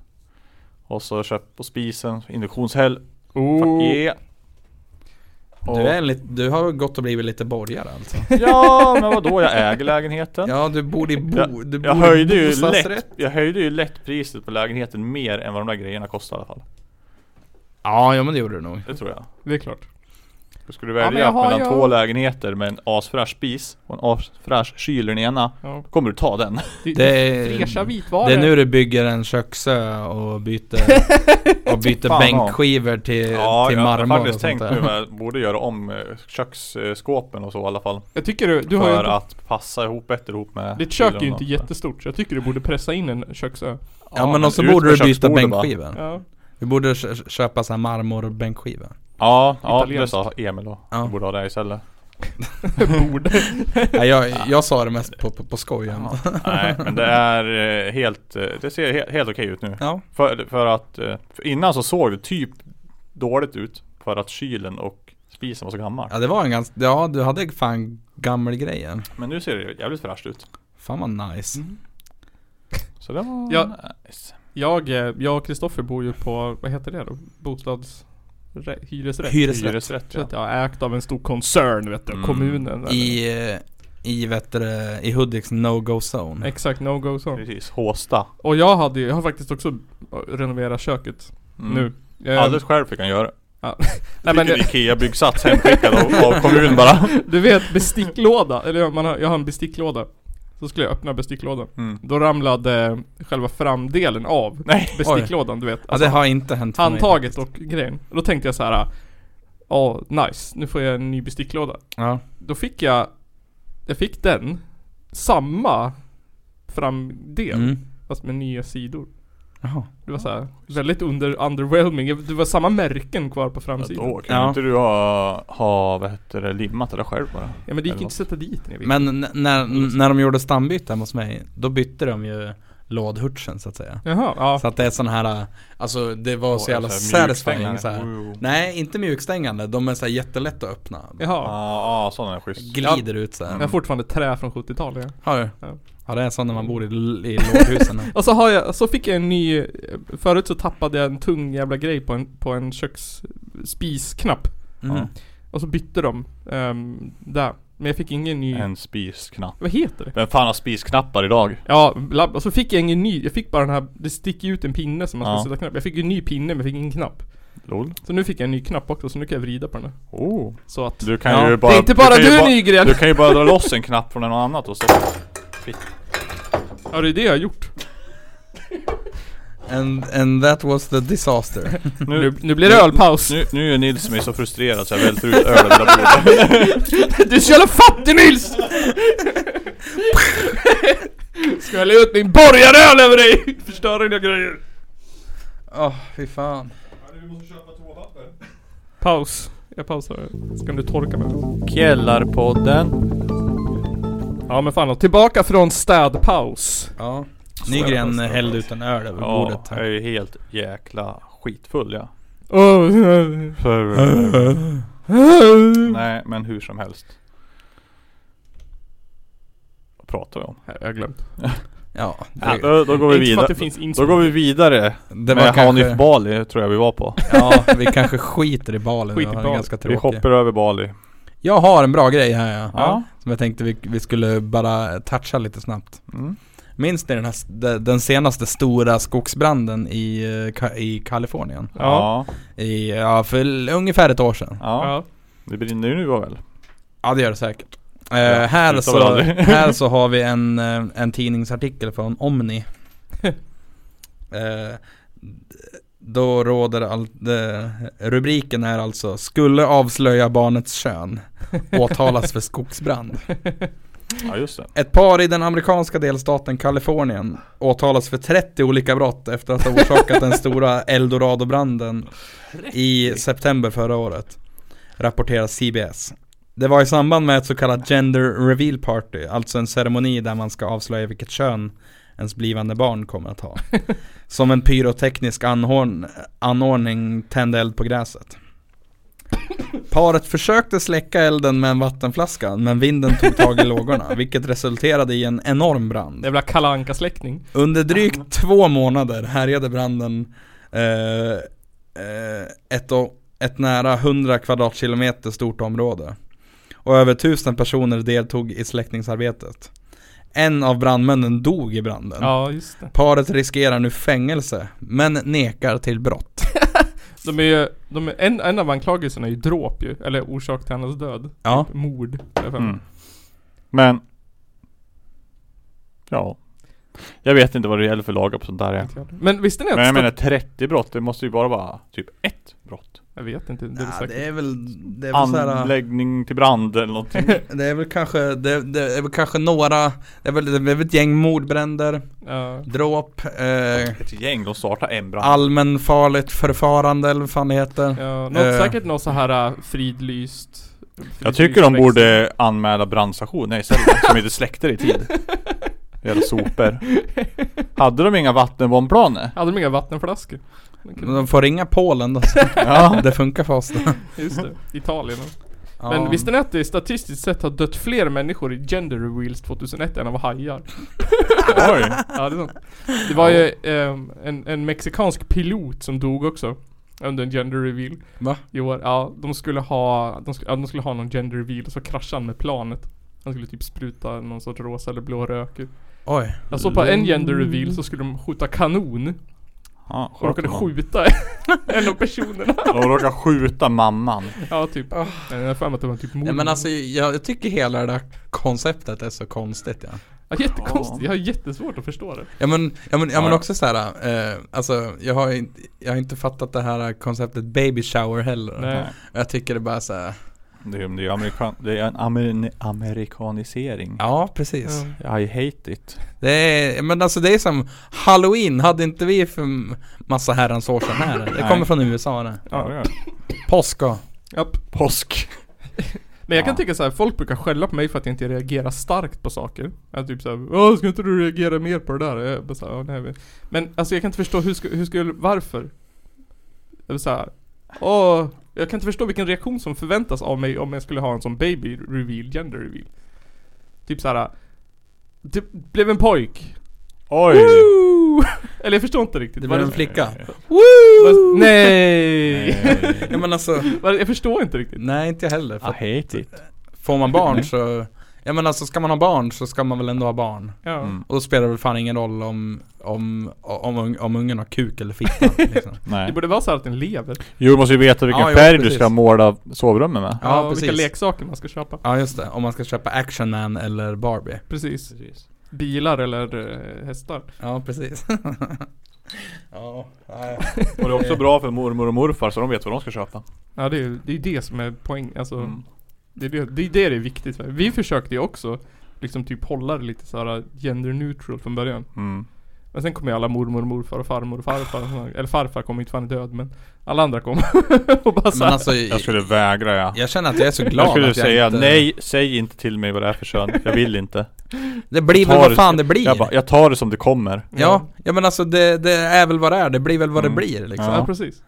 F: Och så köp på spisen, induktionshäll.
B: Oh.
F: Fuck yeah. Och,
A: Du, är lite, du har gått och blivit lite borgare alltså.
F: Ja men vadå, jag äger lägenheten.
A: Ja, du borde i bo, du
F: Jag
A: bor i
F: höjde, ju
A: bostadsrätt.
F: lätt, jag höjde ju lätt priset på lägenheten mer än vad de där grejerna kostar i alla fall.
A: Ja, ja men det gjorde du nog.
F: Det tror jag.
B: Det är klart.
F: Skulle du
B: Ja, men
F: välja
B: jag har
F: mellan
B: ju-
F: två lägenheter med en asfräsch spis och en asfräsch kyl i den ena,
B: Ja.
F: då kommer du ta den.
B: Det,
A: Det
B: det
A: är-
B: är fräscha vitvaror.
A: Det är nu du bygger en köksö och byter, och byter
F: Fan, ja.
A: bänkskivor till, till
F: jag
A: marmor
F: har faktiskt
A: och sånt
F: tänkt
A: där. (laughs)
F: nu vad jag borde göra om eh, köksskåpen och så i alla fall.
B: Jag tycker du, du har ju
F: för
B: inte,
F: att passa ihop bättre ihop med
B: Ditt kök är
F: kylen
B: ju inte
F: och-
B: jättestort så jag tycker du borde pressa in en köksö.
A: Ja men och så
F: ut
A: borde
F: med
A: du byta
F: köksbordet, va?
A: bänkskivor.
B: Ja.
A: Du borde kö- köpa så här marmorbänkskivor.
F: Ja, ja det
B: Italienskt.
F: sa Emil då.
A: Ja.
F: Du borde ha det istället.
B: borde.
A: Nej, jag, jag sa det mest på, på, på skoj. Ja.
F: (laughs) Nej men det är eh, helt, eh, det ser helt, helt okej ut nu.
A: Ja.
F: För, för att, eh, för innan så såg det typ dåligt ut. För att kylen och spisen var så gammal.
A: ja det var en ganska, ja du hade fan gammal grejen.
F: Men nu ser det jävligt fräscht ut.
A: Fan vad nice.
F: Så det var
B: Ja.
F: nice.
B: Jag, eh, jag och Kristoffer bor ju på, vad heter det då? Bostads... Re, hyresrätt?
A: Hyresrätt.
F: Hyresrätt
B: Så
F: ja.
B: att jag är ägt av en stor koncern vet du,
F: Mm.
B: kommunen. eller-
A: I, eh, i vet du, det, i Hudiks no-go zone.
B: Exakt, no go zone.
F: Precis, Håsta.
B: Och jag hade ju- jag har faktiskt också eh, renoverat köket
F: Mm.
B: nu. Eh,
F: Alldeles själv fick han göra.
B: nej, men, eh,
F: Fick en IKEA-byggsats hemskickad av, av kommunen bara.
B: (laughs) du vet besticklåda, eller ja, man har, jag har en besticklåda. Så skulle jag öppna besticklådan.
F: Mm.
B: Då ramlade själva framdelen av
F: Nej.
B: besticklådan du vet.
A: Ja det har inte hänt för mig.
B: handtaget och grejen. Och då tänkte jag så här. Ja, nice. Nu får jag en ny besticklåda.
A: Ja.
B: Då fick jag, jag fick den, samma framdel,
A: Mm.
B: fast med nya sidor.
A: Jaha.
B: Det var så här, väldigt under, underwhelming. Det var samma märken kvar på
F: Ja,
B: framsidan.
F: Då kan
A: Ja.
F: inte du ha, ha, vad heter det, limmat det där själv bara?
B: Ja men det gick
F: Eller
B: inte att sätta dit den. jag vet.
A: Men n- när, n- när de gjorde stambyte hemma hos mig, då bytte de ju lådhurtsen så att säga.
B: Jaha, ja.
A: Så att det är sån här, äh, alltså det var så jävla
F: Så här
A: satisfying
F: mjukstängande.
A: så här.
F: Wow.
A: Nej, inte mjukstängande, de är så här jättelätta att öppna.
B: Jaha.
F: Ja, ah, sådana är schysst.
A: Glider ut så
B: Jag
A: här.
B: har fortfarande trä från 70-talet. ja.
A: Har du?
B: Ja.
A: Ja det är sån när man bor i, l- i Mm. låghusen.
B: Och så har jag, så fick jag en ny, förut så tappade jag en tung jävla grej på en, på en köksspisknapp.
A: Mm.
B: Och så bytte de ehm, där. Men jag fick ingen ny...
F: En spisknapp.
B: Vad heter det?
F: Vem fan har spisknappar idag?
B: Ja, labb, och så fick jag ingen ny. Jag fick bara den här, det sticker ju ut en pinne som man ska
F: Ja.
B: sätta knapp. Jag fick ju en ny pinne men jag fick ingen knapp.
F: LOL.
B: Så nu fick jag en ny knapp också, så nu kan jag vrida på den här.
F: Oh.
B: Så att...
F: Du kan
A: Ja.
F: ju
B: det
F: bara...
B: är inte bara
F: kan ju
B: du,
F: ba-
B: Nygren!
F: Du kan ju bara dra loss en knapp från något annat och så...
B: Ja, det är det jag har gjort.
A: And, and that was the disaster.
B: Nu, nu blir det ölpaus.
F: Nu, nu är Nils som är så frustrerad så jag välter ut ölen där
B: (laughs) (laughs)
F: bordet.
B: Du är så jävla fattig Nils! (laughs) Ska jag lägga ut min borgaröl över dig? (laughs) Förstör dina grejer.
A: Åh, fy fan.
B: Paus. Jag pausar. Så kan du torka mig.
F: Källarpodden.
B: Ja men fan då. Tillbaka från städpaus.
A: Ja.
F: jag
A: Nygren
F: måste-
A: hällde ut en öl över
F: Ja,
A: bordet.
F: jag är ju helt jäkla skitfull ja.
B: Åh.
F: Nej, men hur som helst. Vad pratar vi om?
B: Jag har glömt.
A: Ja,
F: Ja,
A: det,
F: då, då går vi
B: Inte för att
F: vidare.
B: det finns
F: Då går vi vidare
A: det var
F: med Hanif
A: kanske,
F: Bali tror jag vi var på.
A: Ja, vi kanske skiter i balen.
B: Skit i
A: Skit i
B: Bali.
A: Ganska
F: Vi
A: tråkigt.
F: hoppar över Bali.
A: Jag har en bra grej här ja.
F: Ja.
A: Som jag tänkte vi, vi skulle bara toucha lite snabbt.
F: Mm.
A: Minns ni den, här, de- den senaste stora skogsbranden i, eh, Ka- i Kalifornien?
B: Ja.
F: Ja.
A: I, ja, för l- ungefär ett år sedan.
F: ja.
B: Ja.
F: Det brinner ju nu väl?
A: Ja det gör det säkert. Eh,
F: Ja,
A: här,
F: det tar vi
A: så, (laughs)
F: aldrig. (laughs)
A: här så har vi en, eh, en tidningsartikel från
F: (laughs)
A: Omni. eh, då råder allt, eh, rubriken är alltså 'Skulle avslöja barnets kön' Åtalas för skogsbrand.
F: Ja just det.
A: Ett par i den amerikanska delstaten Kalifornien åtalas för 30 olika brott efter att ha orsakat den stora Eldorado-branden i september förra året, rapporterar CBS. Det var i samband med ett så kallat gender reveal party, alltså en ceremoni där man ska avslöja vilket kön ens blivande barn kommer att ha. Som en pyroteknisk anhorn, anordning tände eld på gräset. Paret försökte släcka elden med en vattenflaska, men vinden tog tag i lågorna, vilket resulterade i en enorm brand.
B: Jävla kalanka släckning
A: Under drygt två månader härjade branden eh, eh, ett, o- ett nära 100 kvadratkilometer stort område. Och över 1000 personer deltog i släckningsarbetet. En av brandmännen dog i branden.
B: Ja, just det.
A: Paret riskerar nu fängelse, men nekar till brott.
B: De är ju, de är, en, en av anklagelserna är ju dråp ju, eller orsak till hans död.
A: Ja.
B: Mord. eller vad fan.
F: Mm. Men... Ja. Jag vet inte vad det gäller för lagar på sånt där. Ja.
B: Men visste ni att...
F: Men jag
B: stat-
F: menar 30 brott, det måste ju bara vara typ ett brott.
B: jag vet inte, det är väl
A: Ja,
B: säkert.
A: det är väl, det är väl så här,
F: Anläggning till brand eller någonting.
A: Det är väl kanske, det, det är väl kanske några, det är väl, det är väl ett gäng mordbränder,
B: Ja.
A: dråp, eh,
F: Ett gäng, de startar en brand.
A: allmänfarligt förfarande eller vad fan det heter.
B: Ja, något,
A: Eh.
B: säkert något så här äh, fridlyst.
F: Jag tycker de
B: fridlyst liksom. växt.
F: borde anmäla brandstationer istället, som inte släckte det i (laughs) tid. Jävla sopor. Hade de inga (laughs) vattenbombplaner?
B: Hade de inga vattenflaskor? De kunde-
A: De får ringa Polen då,
B: (laughs)
F: Ja.
A: det funkar för oss.
B: Just det, Italien.
A: Ja.
B: Men visste ni att det statistiskt sett har dött fler människor i gender reveals 2001 än av hajar?
F: Oj.
B: Ja, det, är sant. det var ju ehm, en, en mexikansk pilot som dog också. Under en gender reveal.
A: Va?
B: I år. Ja, de skulle ha, de skulle, ja, de skulle ha någon gender reveal och så kraschade han med planet. Han skulle typ spruta någon sorts rosa eller blå rök ur.
A: Oj.
B: Jag såg på en gender reveal så skulle de skjuta kanon.
F: Ja,
B: Och råkade
F: sköt
B: skjuta (laughs) en av personerna.
F: honom. De råkade skjuta mamman.
B: Ja, typ. Jag har för mig att det var typ mord.
A: Nej men alltså jag, jag tycker hela det där konceptet är så konstigt ja.
B: Ja, jättekonstigt. Jag har jättesvårt att förstå det.
A: Ja men, ja men, ja, men
F: Ja.
A: också så här, eh, alltså jag har, inte, jag har inte fattat det här konceptet baby shower heller.
B: Nej.
A: Jag tycker det bara så här,
F: Det är, det är, amerikan, det är en amer, amerikanisering.
A: ja precis.
B: Ja.
F: I hate it.
A: Det är, men alltså det är som Halloween, hade inte vi för m- massa herrans år sedan här? Det
F: Nej.
A: kommer från USA det.
B: Ja.
F: Ja. det är-
A: Påsk och-
B: Japp.
F: Påsk.
B: Men jag kan
F: Ja.
B: tycka så här, folk brukar skälla på mig för att jag inte reagerar starkt på saker. Jag typ såhär, åh ska inte du reagera mer på det där? Jag bara så här, "Åh, nej. men-" Men alltså jag kan inte förstå hur, sku- hur skulle, varför? Jag vill såhär, åh, jag kan inte förstå vilken reaktion som förväntas av mig om jag skulle ha en sån baby reveal, gender reveal. Typ såhär, det blev en pojk.
F: Oj.
B: Woo! (laughs) Eller jag förstår inte riktigt.
A: Det
B: Var
A: blev en flicka.
B: var- Nej! (laughs)
F: Nej.
A: Ja
F: (laughs)
A: men alltså,
B: Var- Jag förstår inte riktigt.
A: nej inte jag heller.
F: Eh, I
A: För att
F: hate it.
A: får man (laughs) barn så, ja men alltså ska man ha barn så ska man väl ändå ha barn.
B: Ja.
F: Mm.
A: Och då spelar det väl fan ingen roll om, om, om, om, om ungen har kuk eller fitta (laughs) liksom.
B: Det
F: Nej.
B: borde vara så här att den lever.
F: Jo, du måste ju veta vilken
A: Ja, jo,
F: färg du
A: precis.
F: ska måla sovrummet med.
A: Ja,
B: Ja, och vilka
A: precis.
B: leksaker man ska köpa.
A: Ja just det, om man ska köpa Action Man eller Barbie.
B: Precis. Bilar eller eh, hästar.
A: Ja precis. (laughs) ja, (laughs) nej.
F: Och det är också bra för mormor och morfar så de vet vad de ska köpa.
B: Ja, det är ju det, är ju det som är poäng. Alltså,
F: Mm.
B: det, är det, det är det det är viktigt för. Vi försökte ju också liksom typ hålla det lite såhär gender neutral från början.
F: Mm.
B: Men sen kom ju alla mormor, morfar och farmor och (laughs) farfar. Eller farfar kom ju inte, för han är död men alla andra kom. och bara
A: Men
B: såhär.
A: alltså,
F: Jag
A: jag,
F: skulle vägra ja.
A: känner att jag är så glad
F: Jag skulle
A: att jag
F: säga
A: inte...
F: nej, säg inte till mig vad det är för kön. Jag vill inte.
A: Det blir väl
F: tar-
A: vad fan det blir.
F: Jag, bara, jag tar det som det kommer.
A: Ja, ja men alltså det, det är väl vad det är, det blir väl vad
F: Mm.
A: det blir liksom.
B: Ja,
F: Ja.
B: precis.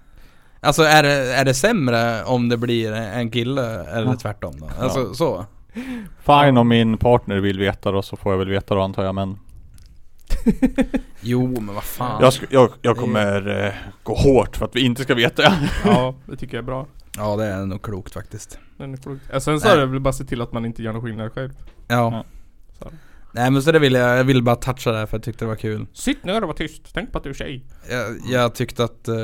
A: Alltså är det, är det sämre om det blir en kille eller
F: Ja.
A: tvärtom då? Alltså
F: Ja.
A: så.
F: Fine om min partner vill veta då så får jag väl veta då antar jag men
A: Jo men vad fan.
F: Jag, sk- jag, jag kommer eh, gå hårt för att vi inte ska veta. (laughs)
B: Ja, det tycker jag är bra.
A: Ja det är nog klokt faktiskt.
B: Den är klok. Ja, sen så är det väl bara se till att man inte gör någon skillnad själv.
A: Ja.
F: Ja.
B: Så här.
A: Nej men så det ville jag, jag ville bara toucha det här för jag tyckte det var kul.
B: Sitt ner och var tyst. Tänk på att du är tjej.
A: Jag, jag tyckte att eh,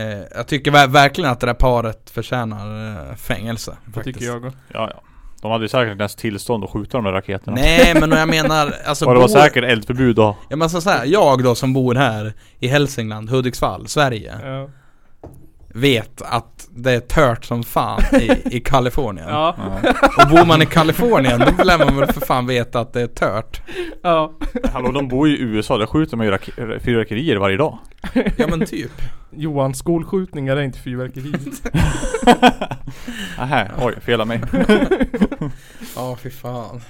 A: eh, jag tycker ver- verkligen att det där paret förtjänar eh, fängelse.
B: Det
A: Faktiskt.
B: tycker jag också.
F: Ja, ja. De hade ju säkert inte ens tillstånd att skjuta de där raketerna.
A: Nej men jag menar, alltså
F: och det var
A: bo-
F: säkert eldförbud (laughs) då.
A: Ja men alltså så så här, jag då som bor här i Hälsingland, Hudiksvall, Sverige.
B: Ja.
A: vet att det är tört som fan i, i Kalifornien.
B: Ja.
A: Och bor man i Kalifornien då lär man väl för fan veta att det är tört.
B: ja.
F: Hallå de bor ju i USA, där skjuter man ju rak- fyrverkerier varje dag. (laughs)
A: Ja men typ.
B: Johan, skolskjutningar är inte fyrverkeri.
F: Nähä, oj, fel av mig.
A: (laughs) Ja fy fan.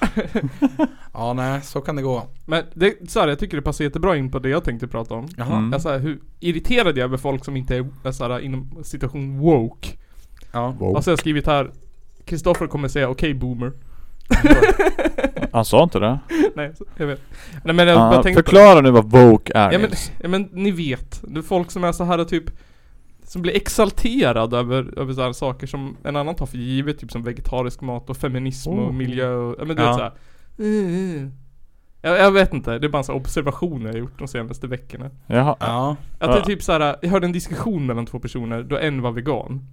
A: Ja nej, så kan det gå.
B: Men det, så här, jag tycker det passar jättebra in på det jag tänkte prata om.
A: Jaha.
F: Mm.
B: Alltså hur irriterad jag är över folk som inte är så här, inom situation woke.
A: Ja.
F: Wow.
B: Och så har jag skrivit här Kristoffer kommer säga okej boomer. (laughs)
F: Han sa inte det?
B: Nej, så- jag vet. Nej men jag bara
F: Ah,
B: tänkte
F: förklara nu vad woke är
B: Ja men,
F: Nils.
B: ja men ni vet. Det är folk som är så här typ som blir exalterade över, över så här saker som en annan tar för givet, typ som vegetarisk mat och feminism och
F: Oh.
B: miljö och, ja men du
A: Ja.
B: vet såhär. Jag, jag vet inte, det är bara en sån här observation jag har gjort de senaste veckorna.
F: Jaha.
A: Ja.
B: Att det är
F: Ja.
B: typ såhär, jag hörde en diskussion mellan två personer då en var vegan.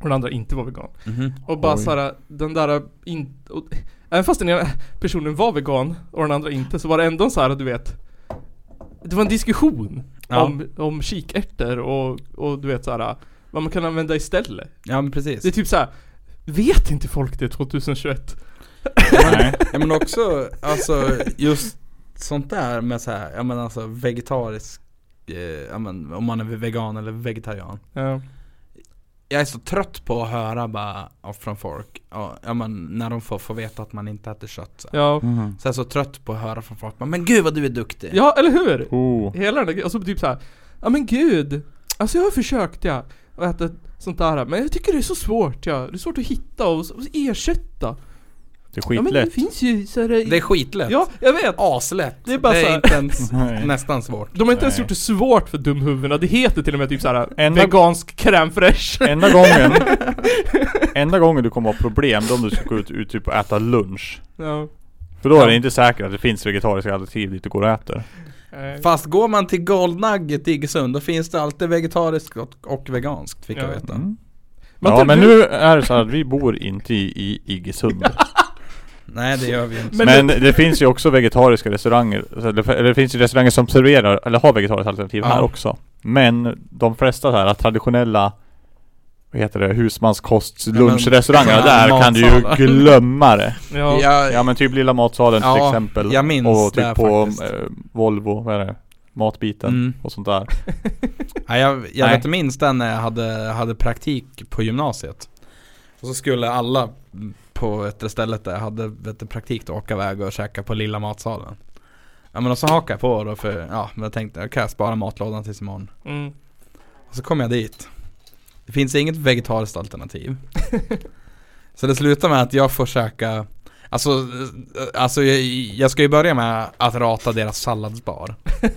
B: Och den andra inte var vegan.
A: Mhm.
B: Och bara
F: Oj.
B: såhär, den där in, och, Även fast den ena personen var vegan och den andra inte så var det ändå en så här, du vet Det var en diskussion
A: Ja.
B: om, om kikärtor och, och du vet såhär Vad man kan använda istället
A: ja, men precis.
B: (laughs) Det är typ såhär Vet inte folk det 2021?
F: Nej.
A: Ja men också, alltså just sånt där med så här, ja men alltså vegetarisk, eh, ja men om man är vegan eller vegetarian.
B: Ja,
A: Jag är så trött på att höra bara ja, från folk, ja, ja men när de får, får veta att man inte äter kött. Så, här.
B: ja,
F: Mhm.
A: så jag är så trött på att höra från folk, bara, men gud vad du är duktig.
B: ja eller hur?
F: Oh.
B: Hela den där grejen, och så typ såhär Ja men gud Alltså jag har försökt ja Att äta sånt där men jag tycker det är så svårt ja Det är svårt att hitta och, och ersätta
F: Det är
B: Ja men det
F: skitlätt.
B: finns ju såhär
A: Det är skitlätt.
B: Ja, jag vet!
A: Aslätt.
B: Det är bara så här-
A: inte
B: (laughs)
A: ens
F: Nej.
A: nästan svårt.
B: De har inte ens
F: Nej.
B: gjort det svårt för dumhuvudena, det heter till och med typ såhär
F: Enda-
B: Vegansk crème
F: (laughs)
B: fraîche
F: Enda gången
B: (laughs)
F: Enda gången du kommer ha problem det är om du ska gå ut, ut typ och äta lunch
B: ja.
F: För då är det inte säkert att det finns vegetariska alternativ dit du går och äter
B: Nej.
A: Fast går man till Gold Nugget i Iggesund då finns det alltid vegetariskt och, och veganskt fick jag
B: Ja.
A: veta.
F: Mm.
B: Men
F: Ja
B: tänk-
F: men nu är det så här att vi bor inte i, i Iggesund
A: Nej det gör vi inte.
B: Men-
F: Men det finns ju också vegetariska restauranger så- Eller eller det finns ju restauranger som serverar eller har vegetariskt alternativ här
A: Ja.
F: också Men de flesta så här traditionella vad heter det? Husmanskostluncherestaurangerna
A: Ja, men-
F: där kan du ju
A: matsalar. (laughs)
F: glömma det
B: ja.
A: Jag-
F: Ja men typ Lilla Matsalen till
A: Ja,
F: exempel.
A: jag minns
F: Och
A: det
F: typ på
A: faktiskt.
F: eh, Volvo, vad är det? Matbiten
A: Mm.
F: och sånt där.
A: Ja, jag jag
F: Nej.
A: vet minst den när jag hade, hade praktik på gymnasiet. Och så skulle alla på ett ställe där jag hade vet, du, praktik då, åka iväg och käka på lilla matsalen. Ja men och så hakade jag på då för, ja men jag tänkte, jag kan jag spara matlådan tills imorgon.
B: Mm.
A: Och så kom jag dit. Det finns inget vegetariskt alternativ. så det slutar med att jag får käka, alltså, eh, alltså jag, jag ska ju börja med att rata deras salladsbar.
F: Den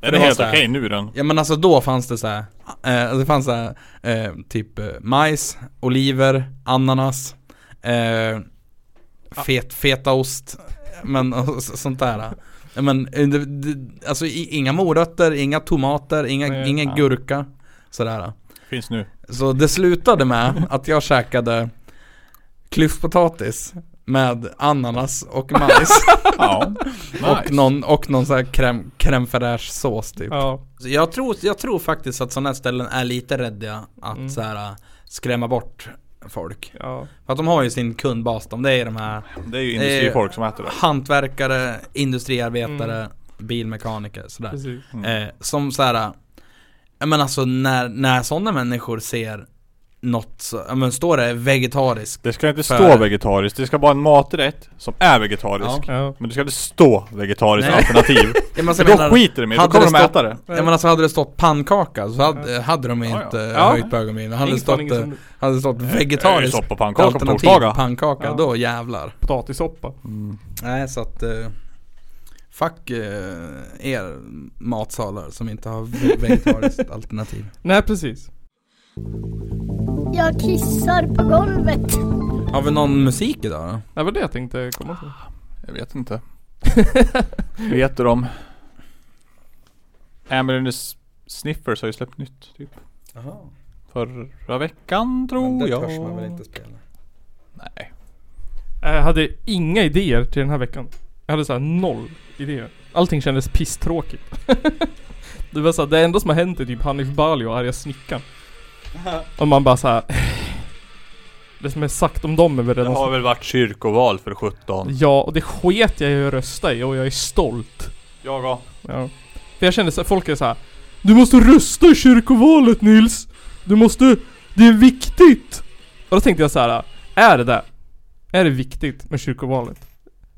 A: det
F: är
A: var
F: helt
A: så här.
F: okej nu den.
A: Ja men alltså då fanns det så här, eh, det fanns så här, eh, typ eh, majs, oliver, ananas, eh, fet, fetaost, men och, så- sånt där. Ja, men eh, det, det, alltså i, inga morötter, inga tomater, inga,
B: Nej.
A: ingen
F: Ja.
A: gurka. Sådär.
F: Finns nu.
A: Så det slutade med att jag käkade klyftpotatis med ananas och
B: (laughs)
A: majs
F: Ja.
A: och någon, och någon sån här crème, crème fraîche sås typ.
B: ja.
A: Så Jag tror, jag tror faktiskt att sådana ställen är lite rädda att
B: Mm.
A: så här, äh, skrämma bort folk.
B: ja.
A: För att de har ju sin kundbas, de det är de här
F: Det är ju industrifolk som äter det.
A: hantverkare, industriarbetare, bilmekaniker sådär.
B: Mm. Precis. Mm.
A: Eh, som så här, ja men alltså när, när sådana människor ser något, så, ja men står det vegetariskt?
F: Det ska inte
A: För-
F: stå vegetariskt, det ska vara en maträtt som är vegetarisk.
A: Ja.
B: Ja.
F: Men det ska inte stå vegetariskt
A: Nej.
F: alternativ.
A: Ja, men så
F: För
A: jag
F: då
A: menar-
F: skiter de i det, då
A: hade
F: kommer
A: det
F: de
A: stått-
F: äta det.
A: Ja men alltså hade det stått pannkaka så hade, hade de
F: Ja, ja.
A: inte
B: Ja.
A: höjt på ögonbrynen. Hade det
B: Ingen liksom.
A: stått,
B: fan, ingen
A: eh,
B: som-
A: hade det stått
F: Det är ju
A: vegetariskt
F: soppa pannkaka på
A: alternativ
F: torsdagar.
A: pannkaka,
B: Ja.
A: då jävlar.
B: Potatissoppa.
F: Mm.
A: Nej så att eh, Fuck eh, er matsalar som inte har ve- vegetariskt alternativ
B: Nej precis.
E: Jag kissar på golvet.
A: Har vi någon musik idag då?
B: Det var det jag tänkte komma till.
F: Jag vet inte. Vad heter de? Amber and the S- Sniffers har ju släppt nytt typ.
A: Jaha
F: Förra veckan tror jag.
A: spela?
F: Nej.
B: Jag hade inga idéer till den här veckan. Jag hade såhär noll idéer. Allting kändes pisstråkigt. (laughs) det var såhär, det enda som har hänt är typ Hanif Bali och arga
F: (laughs)
B: snickaren. Och man bara såhär... (sighs) Det som är sagt om dem är väl
F: Det
B: redan
F: har väl varit kyrkoval för 17.
B: Ja, och det sket jag i att rösta i och jag är stolt.
F: Jag och.
B: Ja. För jag kände så folk är så här. Du måste rösta i kyrkovalet Nils! Du måste... Det är viktigt! Och då tänkte jag så här. Är det det? Är det viktigt med kyrkovalet?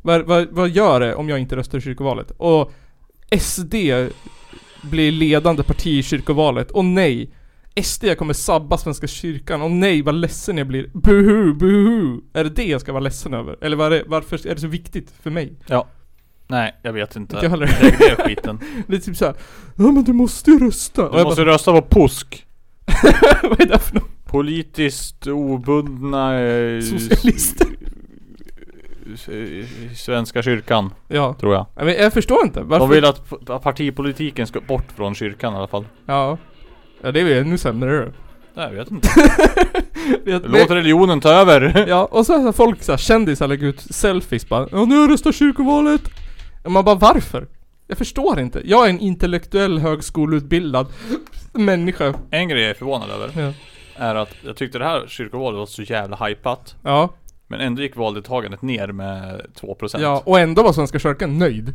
B: Vad, vad, vad gör det om jag inte röstar i kyrkovalet? Och SD blir ledande parti i kyrkovalet. Och nej! SD kommer sabba Svenska kyrkan. Och nej, vad ledsen jag blir. Buhu, buhu! Är det det jag ska vara ledsen över? Eller vad är det, varför är det så viktigt för mig?
F: Nej, jag vet inte.
B: Inte jag heller.
F: Lägg ner skiten.
B: Det är typ såhär Ja men du måste ju rösta! Och
F: Du
B: jag
F: måste rösta på POSK.
B: bara, (laughs) vad är det för något?
F: Politiskt obundna... Eh,
B: Socialister.
F: eh, Svenska kyrkan,
B: Ja.
F: tror jag.
B: Nej, men jag förstår inte. Varför?
F: De vill att p- att partipolitiken ska bort från kyrkan i alla fall.
B: Ja. Ja det är ju ännu sämre då.
F: Nej, jag vet inte.
B: Det-
F: (laughs) Låt religionen ta över.
B: Ja, och så har folk så här, kändisar lägger ut selfies bara Ja nu röstar kyrkovalet! Och man bara varför? Jag förstår inte. Jag är en intellektuell högskoleutbildad människa.
F: En grej jag är förvånad över
B: Ja.
F: är att jag tyckte det här kyrkovalet var så jävla hypat.
B: Ja,
F: Men ändå gick valdeltagandet ner med 2%.
B: ja och ändå var Svenska kyrkan nöjd.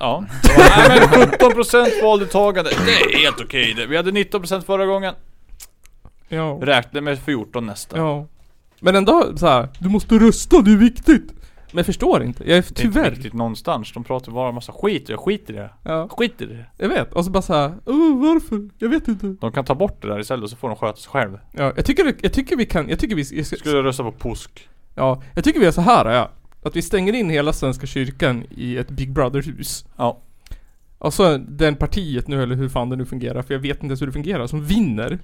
F: Ja. Nej men 17% valdeltagande, det är helt okej det. Vi hade 19% förra gången.
B: Ja.
F: Räkna med 14 nästa.
B: Ja. Men ändå så här, du måste rösta, det är viktigt. Men jag förstår inte. Jag är
F: Det är inte
B: tyvärr.
F: riktigt någonstans. De pratar bara en massa skit och jag skiter i det.
B: Ja,
F: Jag skiter i det.
B: jag vet. Och så bara så här, "Åh, varför? Jag vet inte.
F: De kan ta bort det där istället och så får de sköta sig själv.
B: Ja, jag tycker, jag tycker vi kan, jag tycker vi jag ska,
F: Skulle jag rösta på POSK.
B: Ja, jag tycker vi gör så här ja. Att vi stänger in hela Svenska kyrkan i ett Big Brother-hus.
F: Ja.
B: Och så den partiet nu, eller hur fan det nu fungerar, för jag vet inte ens hur det fungerar, som vinner.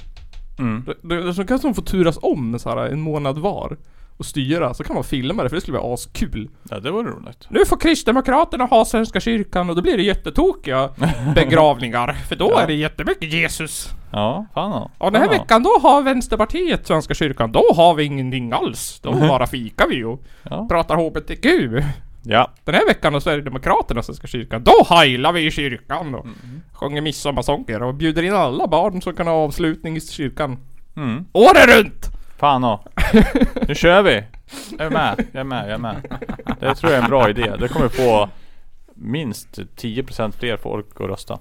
F: Mm.
B: Då- då- Så kan de få turas om så här en månad var. Och styra, så kan man filma det för det skulle vara askul.
F: Ja det var roligt.
B: Nu får Kristdemokraterna ha Svenska kyrkan och då blir det jättetokiga (laughs) begravningar. För då
F: Ja.
B: är det jättemycket Jesus.
F: Ja, fan ja.
B: Och den här
F: Fan, ja.
B: veckan då har Vänsterpartiet Svenska kyrkan. Då har vi ingenting alls. Då bara fikar vi och
F: Ja.
B: pratar HBTQ.
F: Ja.
B: Den här veckan har Sverigedemokraterna Svenska kyrkan. Då heilar vi i kyrkan och
F: Mm.
B: sjunger midsommarsånger och bjuder in alla barn som kan ha avslutning i kyrkan.
F: Mm.
B: Året runt!
F: Fan ja. Nu kör vi. Jag är med, jag är med, jag är med. Det tror jag är en bra idé. Det kommer få minst 10% fler folk att rösta.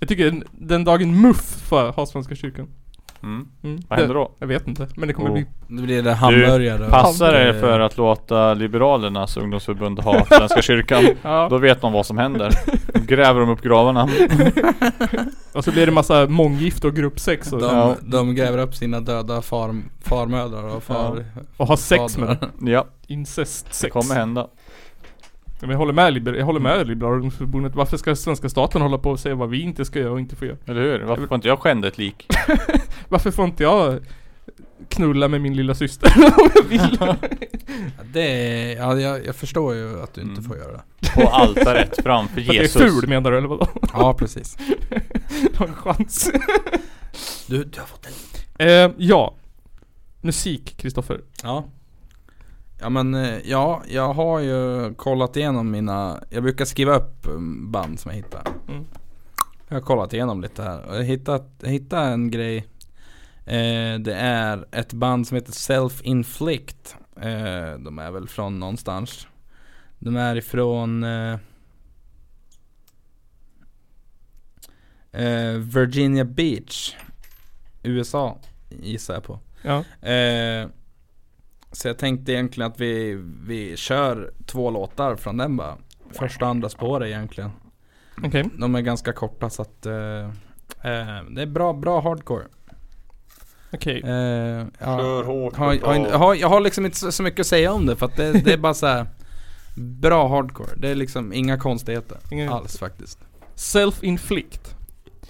B: Jag tycker den- den dagen MUF får ha Svenska kyrkan.
F: Mm.
B: Mm.
F: Vad händer
B: det,
F: då?
B: Jag vet inte, men det kommer
F: Oh.
B: bli...
A: Då blir det hamburgare och-
F: Passar det för att låta Liberalernas ungdomsförbund ha Svenska kyrkan?
B: Ja.
F: Då vet de vad som händer. Då gräver de upp gravarna.
B: Och så blir det massa månggifte och gruppsex och,
A: De, de gräver upp sina döda far, farmödrar och far...
B: och ha sex med
A: fadrar.
F: Ja, det
B: incestsex.
F: kommer hända.
B: Men jag håller med, Liber- jag håller med Liberala ungdomsförbundet. Varför ska svenska staten hålla på och säga vad vi inte ska göra och inte får göra?
F: Eller hur? Varför får inte jag skända ett lik?
B: Varför får inte jag knulla med min lilla syster om jag vill?
A: Ja, Det är, ja, jag, jag förstår ju att du inte
F: Mm.
A: får göra det.
F: (laughs) På altaret
B: För
F: framför
B: att
F: Jesus.
B: jag är ful menar du eller vadå? (laughs)
A: Ja, precis.
B: Har en chans.
A: Du, du har fått en...
B: eh, ja. Musik, Kristoffer.
A: Ja. Ja men eh, ja, jag har ju kollat igenom mina, jag brukar skriva upp eh, band som jag hittar.
B: Mm.
A: Jag har kollat igenom lite här och jag hittat, jag hittade en grej. Eh, det är ett band som heter Self Inflict. Eh, de är väl från någonstans. De är ifrån eh, eh, Virginia Beach, USA gissar jag på.
B: Ja.
A: Eh, så jag tänkte egentligen att vi, vi kör två låtar från den bara. Första och andra spåret egentligen.
B: Okej.
A: De är ganska korta så att eh, eh, det är bra, bra hardcore.
B: Okej.
A: Eh, ja.
F: Kör hårt.
A: har, har, har, jag har liksom inte så så mycket att säga om det för att det, det är bara så här bra hardcore. Det är liksom inga konstigheter
B: Inga-
A: alls faktiskt.
B: Self-inflict.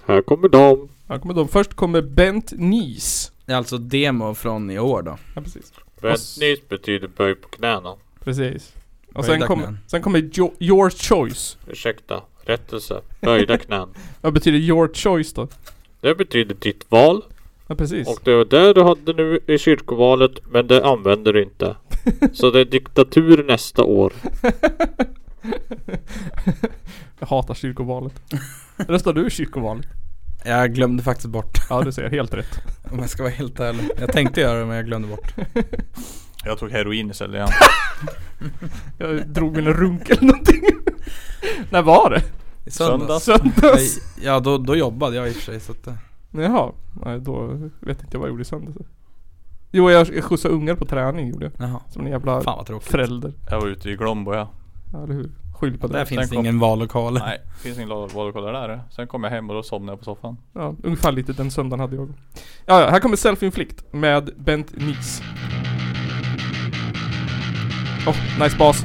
G: Här kommer de.
B: Här kommer de. Först kommer Bent Nies.
A: Det är alltså demo från i år då.
B: Ja precis.
G: Vändnys betyder böj på knäna.
B: Precis. Och
A: Böjda
B: sen, kom,
A: knän.
B: sen kommer jo, Your Choice.
G: Ursäkta, rättelse. Böjda knän.
B: Vad betyder Your Choice då?
G: Det betyder ditt val.
B: Ja precis.
G: Och det var det du hade nu i kyrkovalet, men det använder du inte. Så det är diktatur nästa år.
B: Jag hatar kyrkovalet. Röstar du i kyrkovalet?
A: Jag glömde faktiskt bort
B: Ja du ser helt rätt.
A: (laughs) om jag ska vara helt ärlig. Jag tänkte göra det men jag glömde bort.
F: Jag tog heroin istället igen.
B: Jag drog en runk eller någonting. När var det?
A: I söndags.
B: Söndags?
A: Ja då, då jobbade jag i och för sig så att eh.
B: Jaha, nej då vet inte jag vad jag gjorde i söndags. Jo jag, jag skjutsade ungar på träning gjorde jag.
A: Jaha,
B: Som en jävla
A: fan vad tråkigt.
B: förälder.
F: Jag var ute i Glombo ja.
B: Ja, eller hur? Skyll på
A: Där
B: det.
A: finns det
F: kom-
A: ingen vallokal.
F: Nej, finns ingen la- vallokaler där. eh. Sen kom jag hem och då somnade jag på soffan.
B: Ja, ungefär lite den söndagen hade jag. Ja, ja, här kommer Self-Inflict med Bent Nies. Oh, nice bas.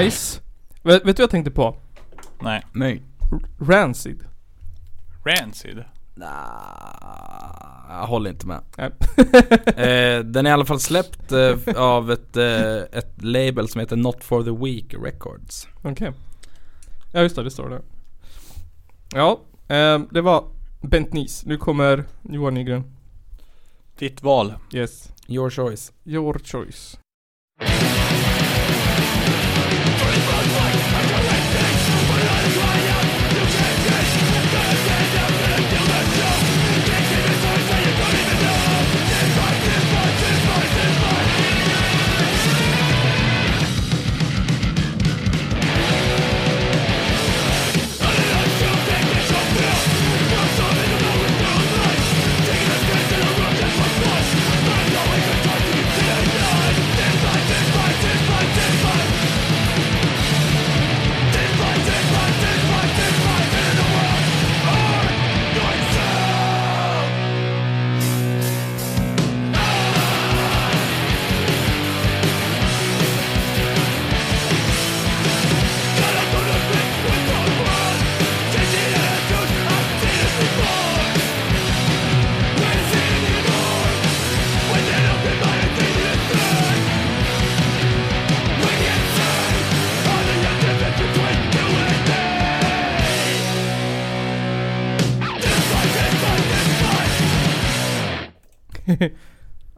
B: Nice. Vet, vet du vad jag tänkte på?
F: Nej.
A: Nej.
B: Rancid.
F: Rancid?
A: Nah, jag håller inte med.
B: Nej. (laughs)
A: eh, den är i alla fall släppt eh, av ett, eh, ett label som heter Not For The Week Records.
B: Okej. Ja just det, det står det. Ja, ehm, det var Bent Nies. Nu kommer Johan Nygren.
F: Ditt val.
B: Yes.
A: Your choice.
B: Your choice. (laughs)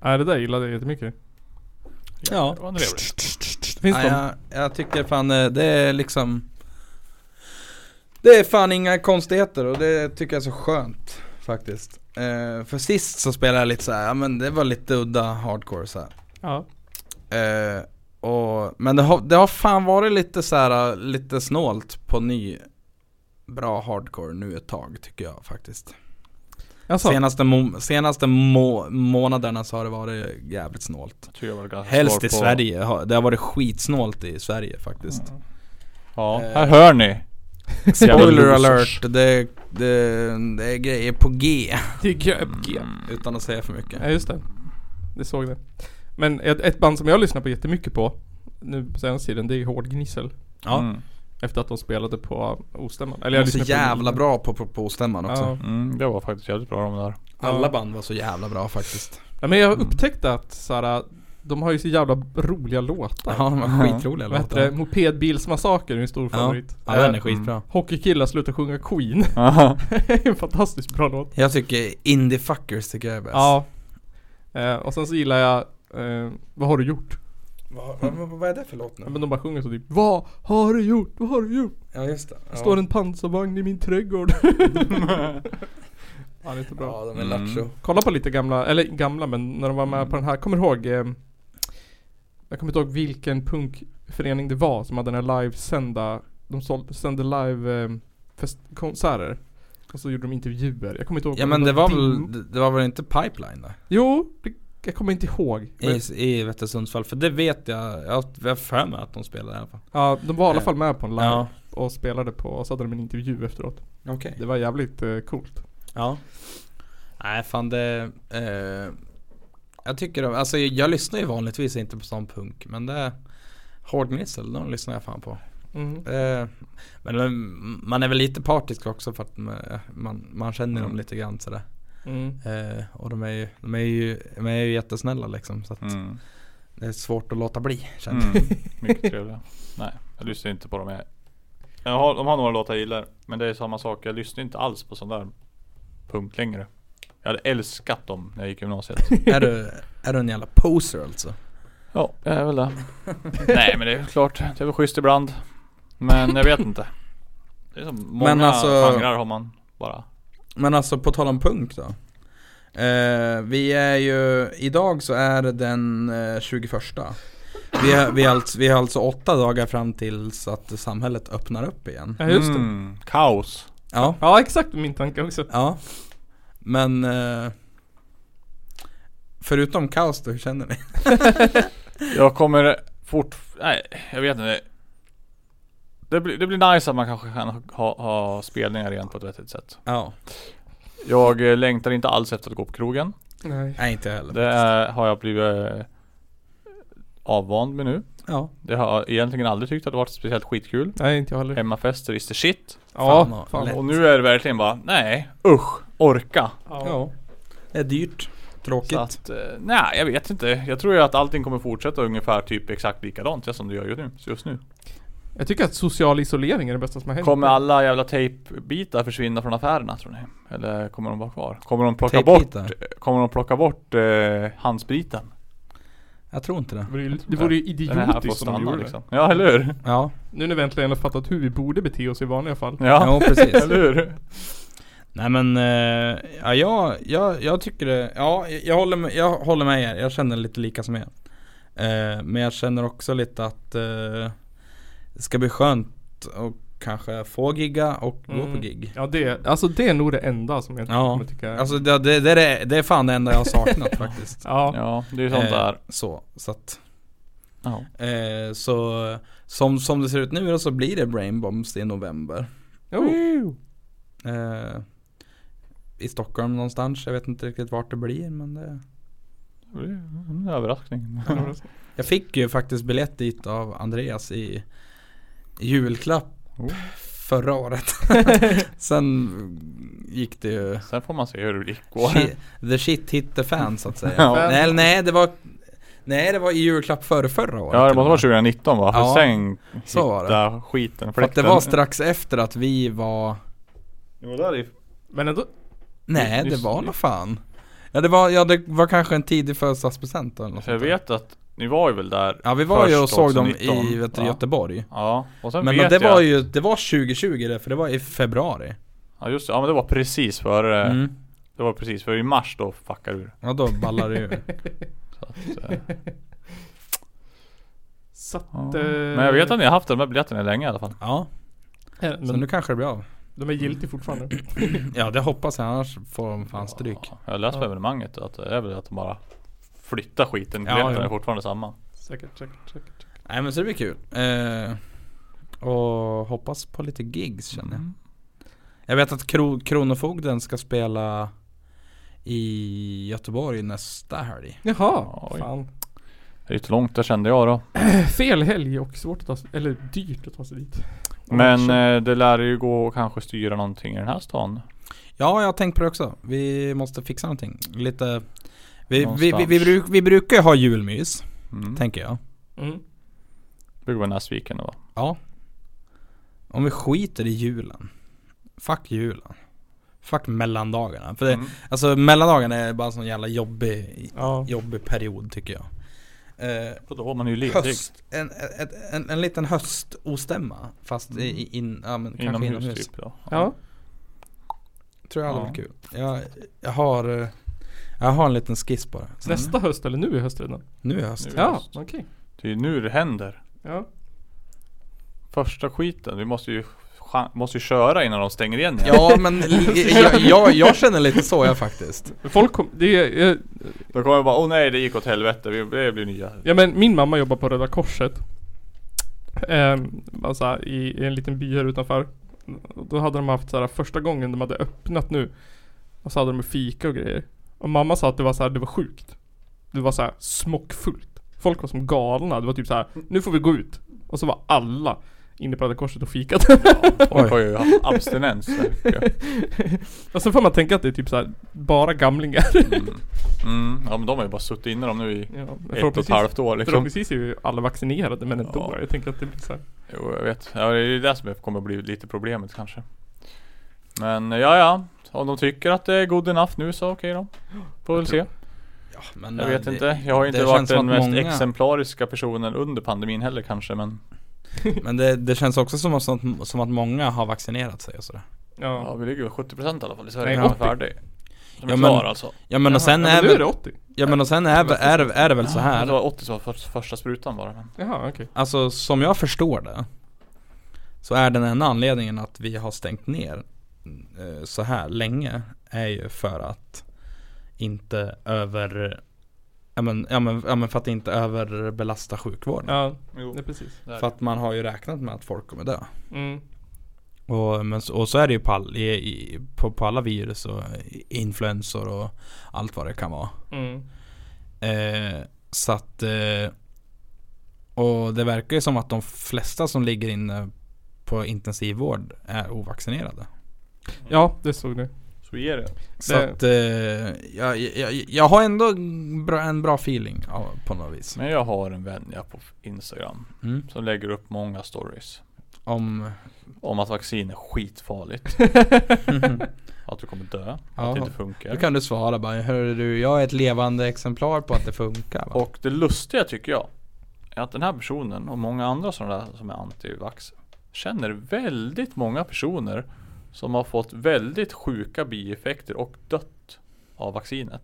B: Nej det där gillade jag jättemycket.
A: Ja.
F: Det var trevligt.
B: Finns
A: Ah, Ja,
B: de?
A: jag, jag tycker fan eh, det är liksom Det är fan inga konstigheter och det tycker jag är så skönt faktiskt. Eh, för sist så spelade jag lite så här, ja men det var lite udda hardcore så här.
B: Ja.
A: Eh, och, men det har, det har fan varit lite så här, lite snålt på ny bra hardcore nu ett tag tycker jag faktiskt.
B: Alltså,
A: Senaste, mo- senaste må- månaderna så har det varit jävligt snålt.
F: Jag tycker jag var ganska
A: Helst
F: svår
A: i
F: på-
A: Sverige, har- det har varit skitsnålt i Sverige faktiskt.
F: Ja,
A: Eh.
F: här hör ni.
A: Spoiler
F: Jävla
A: alert,
F: losers.
A: det, det, det är grejer på G
B: Tycker jag är G.
F: Mm.
A: utan att säga för mycket.
B: Ja just det. Det såg det. Men ett, ett band som jag lyssnar på jättemycket på nu på senaste tiden, det är Hård Gnissel.
A: Ja.
F: Mm.
B: Efter att de spelade på Ostämman. Eller
A: De var
B: jag
A: så
B: lyssnade på
A: jävla bra på, på, på stämman också.
B: Ja.
F: Mm, det var faktiskt jävligt bra de där.
A: Alla band var så jävla bra faktiskt.
B: ja men jag upptäckte att såhär, de har ju så jävla roliga låtar.
A: Ja, de var skitroliga
B: Vad heter det?
A: låtar.
B: Mopedbilsmassaker är en stor favorit.
A: Ja, den är
B: Eh,
A: skitbra.
B: Hockeykillar slutar sjunga Queen. (laughs) Det är en fantastiskt bra låt.
A: Jag tycker Indie Fuckers tycker jag är bäst.
B: Ja. Eh, och sen så gillar jag eh, Vad har du gjort?
A: Vad, vad, vad är det för låt
B: Ja, Men de bara sjunger så typ Vad har du gjort? Vad har du gjort?
A: Ja just det. Ja.
B: Står en pansarvagn i
A: (laughs)
B: min trädgård. (laughs) ja, det är så bra.
A: Ja, de är
F: Mm.
A: lattjo.
B: Kolla på lite gamla, eller gamla men när de var
A: Mm.
B: med på den här, kommer du ihåg eh, Jag kommer inte ihåg vilken punkförening det var som hade den här livesända De sålde, sände live eh, fest, konserter Och så gjorde de intervjuer, jag kommer inte ihåg
A: Ja
B: om
A: men det var
B: din-
A: väl, det var väl inte Pipeline då?
B: Jo, det, jag kommer inte ihåg men,
A: I, i vet du, Sundsvall, för det vet jag, jag jag har för mig att de spelade i alla fall.
B: Ja, de var i alla fall med på en live
A: Ja.
B: och spelade på, och så hade de en intervju efteråt
A: Okej.
B: Det var jävligt eh, coolt
A: Ja Nej fan det eh, Jag tycker de, alltså jag lyssnar ju vanligtvis inte på sån punk men det Hårdgnissel, de lyssnar jag fan på
B: mm.
A: eh, Men de- man är väl lite partisk också för att man, man, man känner dem lite grann sådär
B: Mm.
A: eh, Och de är, ju, de, är ju, de är ju jättesnälla liksom så att
F: Mm.
A: det är svårt att låta bli känner jag.
F: Mm. (laughs) Mycket trevliga. Nej, jag lyssnar inte på dem. Jag, jag har, de har några låtar jag gillar. Men det är samma sak. Jag lyssnar inte alls på sån där punk längre. Jag hade älskat dem när jag gick i gymnasiet.
A: är, du, är du en jävla poser alltså?
F: Ja, jag är väl det. (laughs) Nej men det är klart. Det är väl schysst ibland. Men jag vet inte. Det är som många
A: Men alltså-
F: genrer har man bara.
A: Men alltså på tal om punk då eh, Vi är ju, idag så är det den eh, 21 vi, är, vi, är alltså, vi har alltså åtta dagar fram tills att samhället öppnar upp igen
B: Ja just det
F: Mm, kaos.
A: Ja,
B: Ja exakt min tanke också
A: ja Men eh, Förutom kaos då, hur känner ni?
F: Jag kommer fort... Nej, jag vet inte. Det blir, det blir nice att man kanske kan ha, ha spelningar igen på ett vettigt sätt.
A: Ja,
F: Jag eh, längtar inte alls efter att gå på krogen.
B: Nej
A: nej inte jag heller
F: Det är, har jag blivit eh, avvand med nu.
A: Ja.
F: Det har egentligen aldrig tyckt att det varit speciellt skitkul.
B: Nej, inte jag heller.
F: Hemmafester is the shit.
B: Ja,
A: vad
B: fan.
A: lätt.
F: Och nu är det verkligen bara, nej usch, orka.
B: Ja.
A: Det är dyrt. Tråkigt.
F: Så att, eh, nej jag vet inte. Jag tror ju att allting kommer fortsätta ungefär typ exakt likadant ja, som det gör ju nu, just nu.
B: Jag tycker att social isolering är det bästa som har hänt.
F: Kommer alla jävla tejpbitar försvinna från affärerna tror ni? Eller kommer de vara kvar? Kommer de plocka bort,
A: Tejpbitar.
F: kommer de plocka bort eh, handspriten?
A: Jag tror inte det.
B: Det vore ju- Det vore ju
F: Den är här får
B: idiotiskt om de
F: stanna
B: gjorde det.
F: liksom. Ja eller hur?
A: Ja,
B: Nu när vi äntligen har fattat hur vi borde bete oss i vanliga fall.
F: Ja,
A: ja precis.
F: (laughs) eller hur?
A: (laughs) Nej men, eh, ja, jag, jag, jag tycker det, ja jag- jag håller, med, jag håller med er, jag känner lite lika som er. Eh, men jag känner också lite att eh, det ska bli skönt att kanske få gigga och gå
B: Mm.
A: på gig.
B: Ja det, alltså det är nog det enda som jag inte
A: Ja.
B: kommer tycka är-
A: Alltså det, det, det, är det, det är fan det enda jag har saknat faktiskt.
B: ja.
F: Ja, det är ju sånt där.
A: Eh, så, så att,
F: Ja.
A: eh, så eh, som, som det ser ut nu då så blir det Brain Bombs i november.
B: Jo.
A: Eh, I Stockholm någonstans, jag vet inte riktigt vart det blir men det
F: Det är en
A: (laughs)
F: överraskning.
A: Jag fick ju faktiskt biljett dit av Andreas i julklapp
F: Oh.
A: förra
F: (laughs)
A: året. Sen gick det ju
F: Sen får man se hur det går.
A: shit, the shit hit the fan så att säga.
F: Ja.
A: Nej, eller nej, det var Nej det var i julklapp före förra året.
F: Ja det
A: till och
F: måste
A: med.
F: vara 2019 va? För
A: Ja,
F: sen
A: så var det.
F: hitta skiten,
A: För att det var strax efter att vi var
F: Det var där i...
B: Men ändå,
A: Nej det
F: Nyss-
A: var nog fan. Ja det var, ja, det var kanske en tidig födelsedagspresent eller något
F: För jag
A: sånt där.
F: vet att ni var ju väl där
A: Ja vi var ju och
F: först
A: såg dem i
F: 2019,
A: vet, du,
F: va?
A: Göteborg.
F: Ja, och sen
A: Men
F: vet
A: det
F: jag
A: var ju, det var 2020 det för det var i februari.
F: Ja just det, ja men det var precis före
A: Mm.
F: Det var precis före i mars då fuckade ur
A: Ja då ballar det ju. (laughs)
F: så att, eh,
B: så att,
F: ja.
B: eh,
F: Men jag vet att ni har haft de här biljetterna länge i alla fall
A: Ja,
B: eh,
A: så
B: men
A: nu kanske det blir av.
B: de är giltiga fortfarande.
A: Ja det hoppas jag, annars får de fan stryk.
F: ja, Jag läste på
B: Ja.
F: evenemanget att det är väl att de bara Flyttar skiten,
A: Ja,
F: biljetterna
A: ja.
F: är fortfarande samma
B: Säkert, säkert, säkert.
A: Nej men så det blir kul. Eh, och hoppas på lite gigs känner jag. Jag vet att Kro- Kronofogden ska spela i Göteborg nästa helg.
B: Jaha,
F: Oj.
B: fan.
F: Det är ju långt där kände jag då
B: Eh, Fel helg och svårt att ta sig, eller dyrt att ta sig dit.
F: Men
B: Oj,
F: eh, det lär ju gå och kanske styra någonting i den här stan
A: Ja jag har tänkt på det också. Vi måste fixa någonting. Lite vi, vi, vi,
F: Någonstans.
A: vi, bruk, vi brukar ju ha julmys,
F: mm.
A: tänker jag.
B: Mm.
F: Det brukar vara Näsviken då va?
A: Ja. Om vi skiter i julen. Fuck julen. Fuck mellandagarna. För det,
F: Mm.
A: Alltså mellandagarna är bara en sån jävla jobbig,
B: Ja.
A: jobbig period tycker jag. Eh,
F: För då man är ju ledig
A: höst, en, ett- en, en liten höstostämma fast i, i- in, ja, men kanske
F: Inomhus,
A: inomhus.
F: typ då
B: Ja.
A: Tror jag hade
F: Ja.
A: varit kul. Jag, jag, har, eh, jag har en liten skiss bara. Så
B: Nästa höst eller nu i höst redan?
A: Nu är höst.
F: Nu.
B: Ja,
F: Mm. höst.
B: okej.
F: Det är ju nu det händer
B: Ja.
F: Första skiten, vi måste ju, cha- måste ju köra innan de stänger igen igen.
A: Ja men li- jag, jag, jag känner lite så jag faktiskt.
B: Folk kom, det är, eh,
F: Då kommer jag bara, åh nej det gick åt helvete, vi, det blir nya.
B: Ja men min mamma jobbar på Röda Korset. Ehm, alltså i, i en liten by här utanför. Då hade de haft så här första gången de hade öppnat nu. Och så hade de ju fika och grejer. Och mamma sa att det var så här, det var sjukt. Det var så här smockfullt. Folk var som galna. Det var typ så här, nu får vi gå ut. Och så var alla inne på Röda Korset och fikat. (laughs)
F: Folk har ju haft
A: (laughs)
F: abstinens. verkar.
B: och så får man tänka att det är typ så här, bara gamlingar.
F: Mm. Mm. Ja men de har ju bara suttit inne dem nu i
B: Ja, men
F: ett och ett halvt år liksom.
B: Förhoppningsvis är ju alla vaccinerade men ändå.
F: Ja.
B: Jag tänker att det blir så här.
F: Jo jag vet, ja, det är ju det som kommer att bli lite problemet kanske. Men ja ja, om de tycker att det är good enough nu så okej då. Får väl se.
A: Ja, men,
F: Jag
A: eh,
F: vet
A: det-
F: inte, jag har ju inte
A: det
F: varit
A: känns som
F: den
A: att
F: mest
A: många-
F: exemplariska personen under pandemin heller kanske men
A: Men det, det känns också som att, som att många har vaccinerat sig och sådär.
F: Ja vi ligger väl 70% i alla fall i Sverige.
B: Nej,
F: Nej,
B: 80.
F: färdig. De är
A: Ja, men-
F: klara alltså.
A: Ja men och sen
B: ja,
A: är
B: men nu
A: väl,
B: är det 80.
A: ja men och sen är, väl- är, är det väl så
F: Ja,
A: här.
F: Det var 80 som var för, första sprutan bara men.
B: Jaha, okej.
A: Alltså som jag förstår det Så är den enda anledningen att vi har stängt ner eh, så här länge Är ju för att inte över Ja men, ja, men, ja, men för att inte överbelasta sjukvården
B: Ja,
F: Jo.
B: det är precis.
F: Där.
A: För att man har ju räknat med att folk kommer dö
B: Mm.
A: och, men, så- och så är det ju på, all, i, i, på, på alla virus och influensor och allt vad det kan vara
B: Mm.
A: Eh, så att eh, Och det verkar ju som att de flesta som ligger inne på intensivvård är ovaccinerade.
B: Ja, det såg du.
F: Så ger det.
A: Så
B: Det-
A: att eh, jag, jag, jag har ändå bra, en bra feeling av- på något vis.
F: Men jag har en vän jag på Instagram
A: Mm.
F: som lägger upp många stories (laughs)
A: Om,
F: om att vaccin är skitfarligt. (laughs) Att du kommer dö,
A: Ja.
F: att det inte
A: då
F: funkar.
A: kan du svara bara Hörru du, jag är ett levande exemplar på att det funkar va?
F: Och det lustiga tycker jag är att den här personen och många andra sådana där som är antivax känner väldigt många personer som har fått väldigt sjuka bieffekter och dött av vaccinet.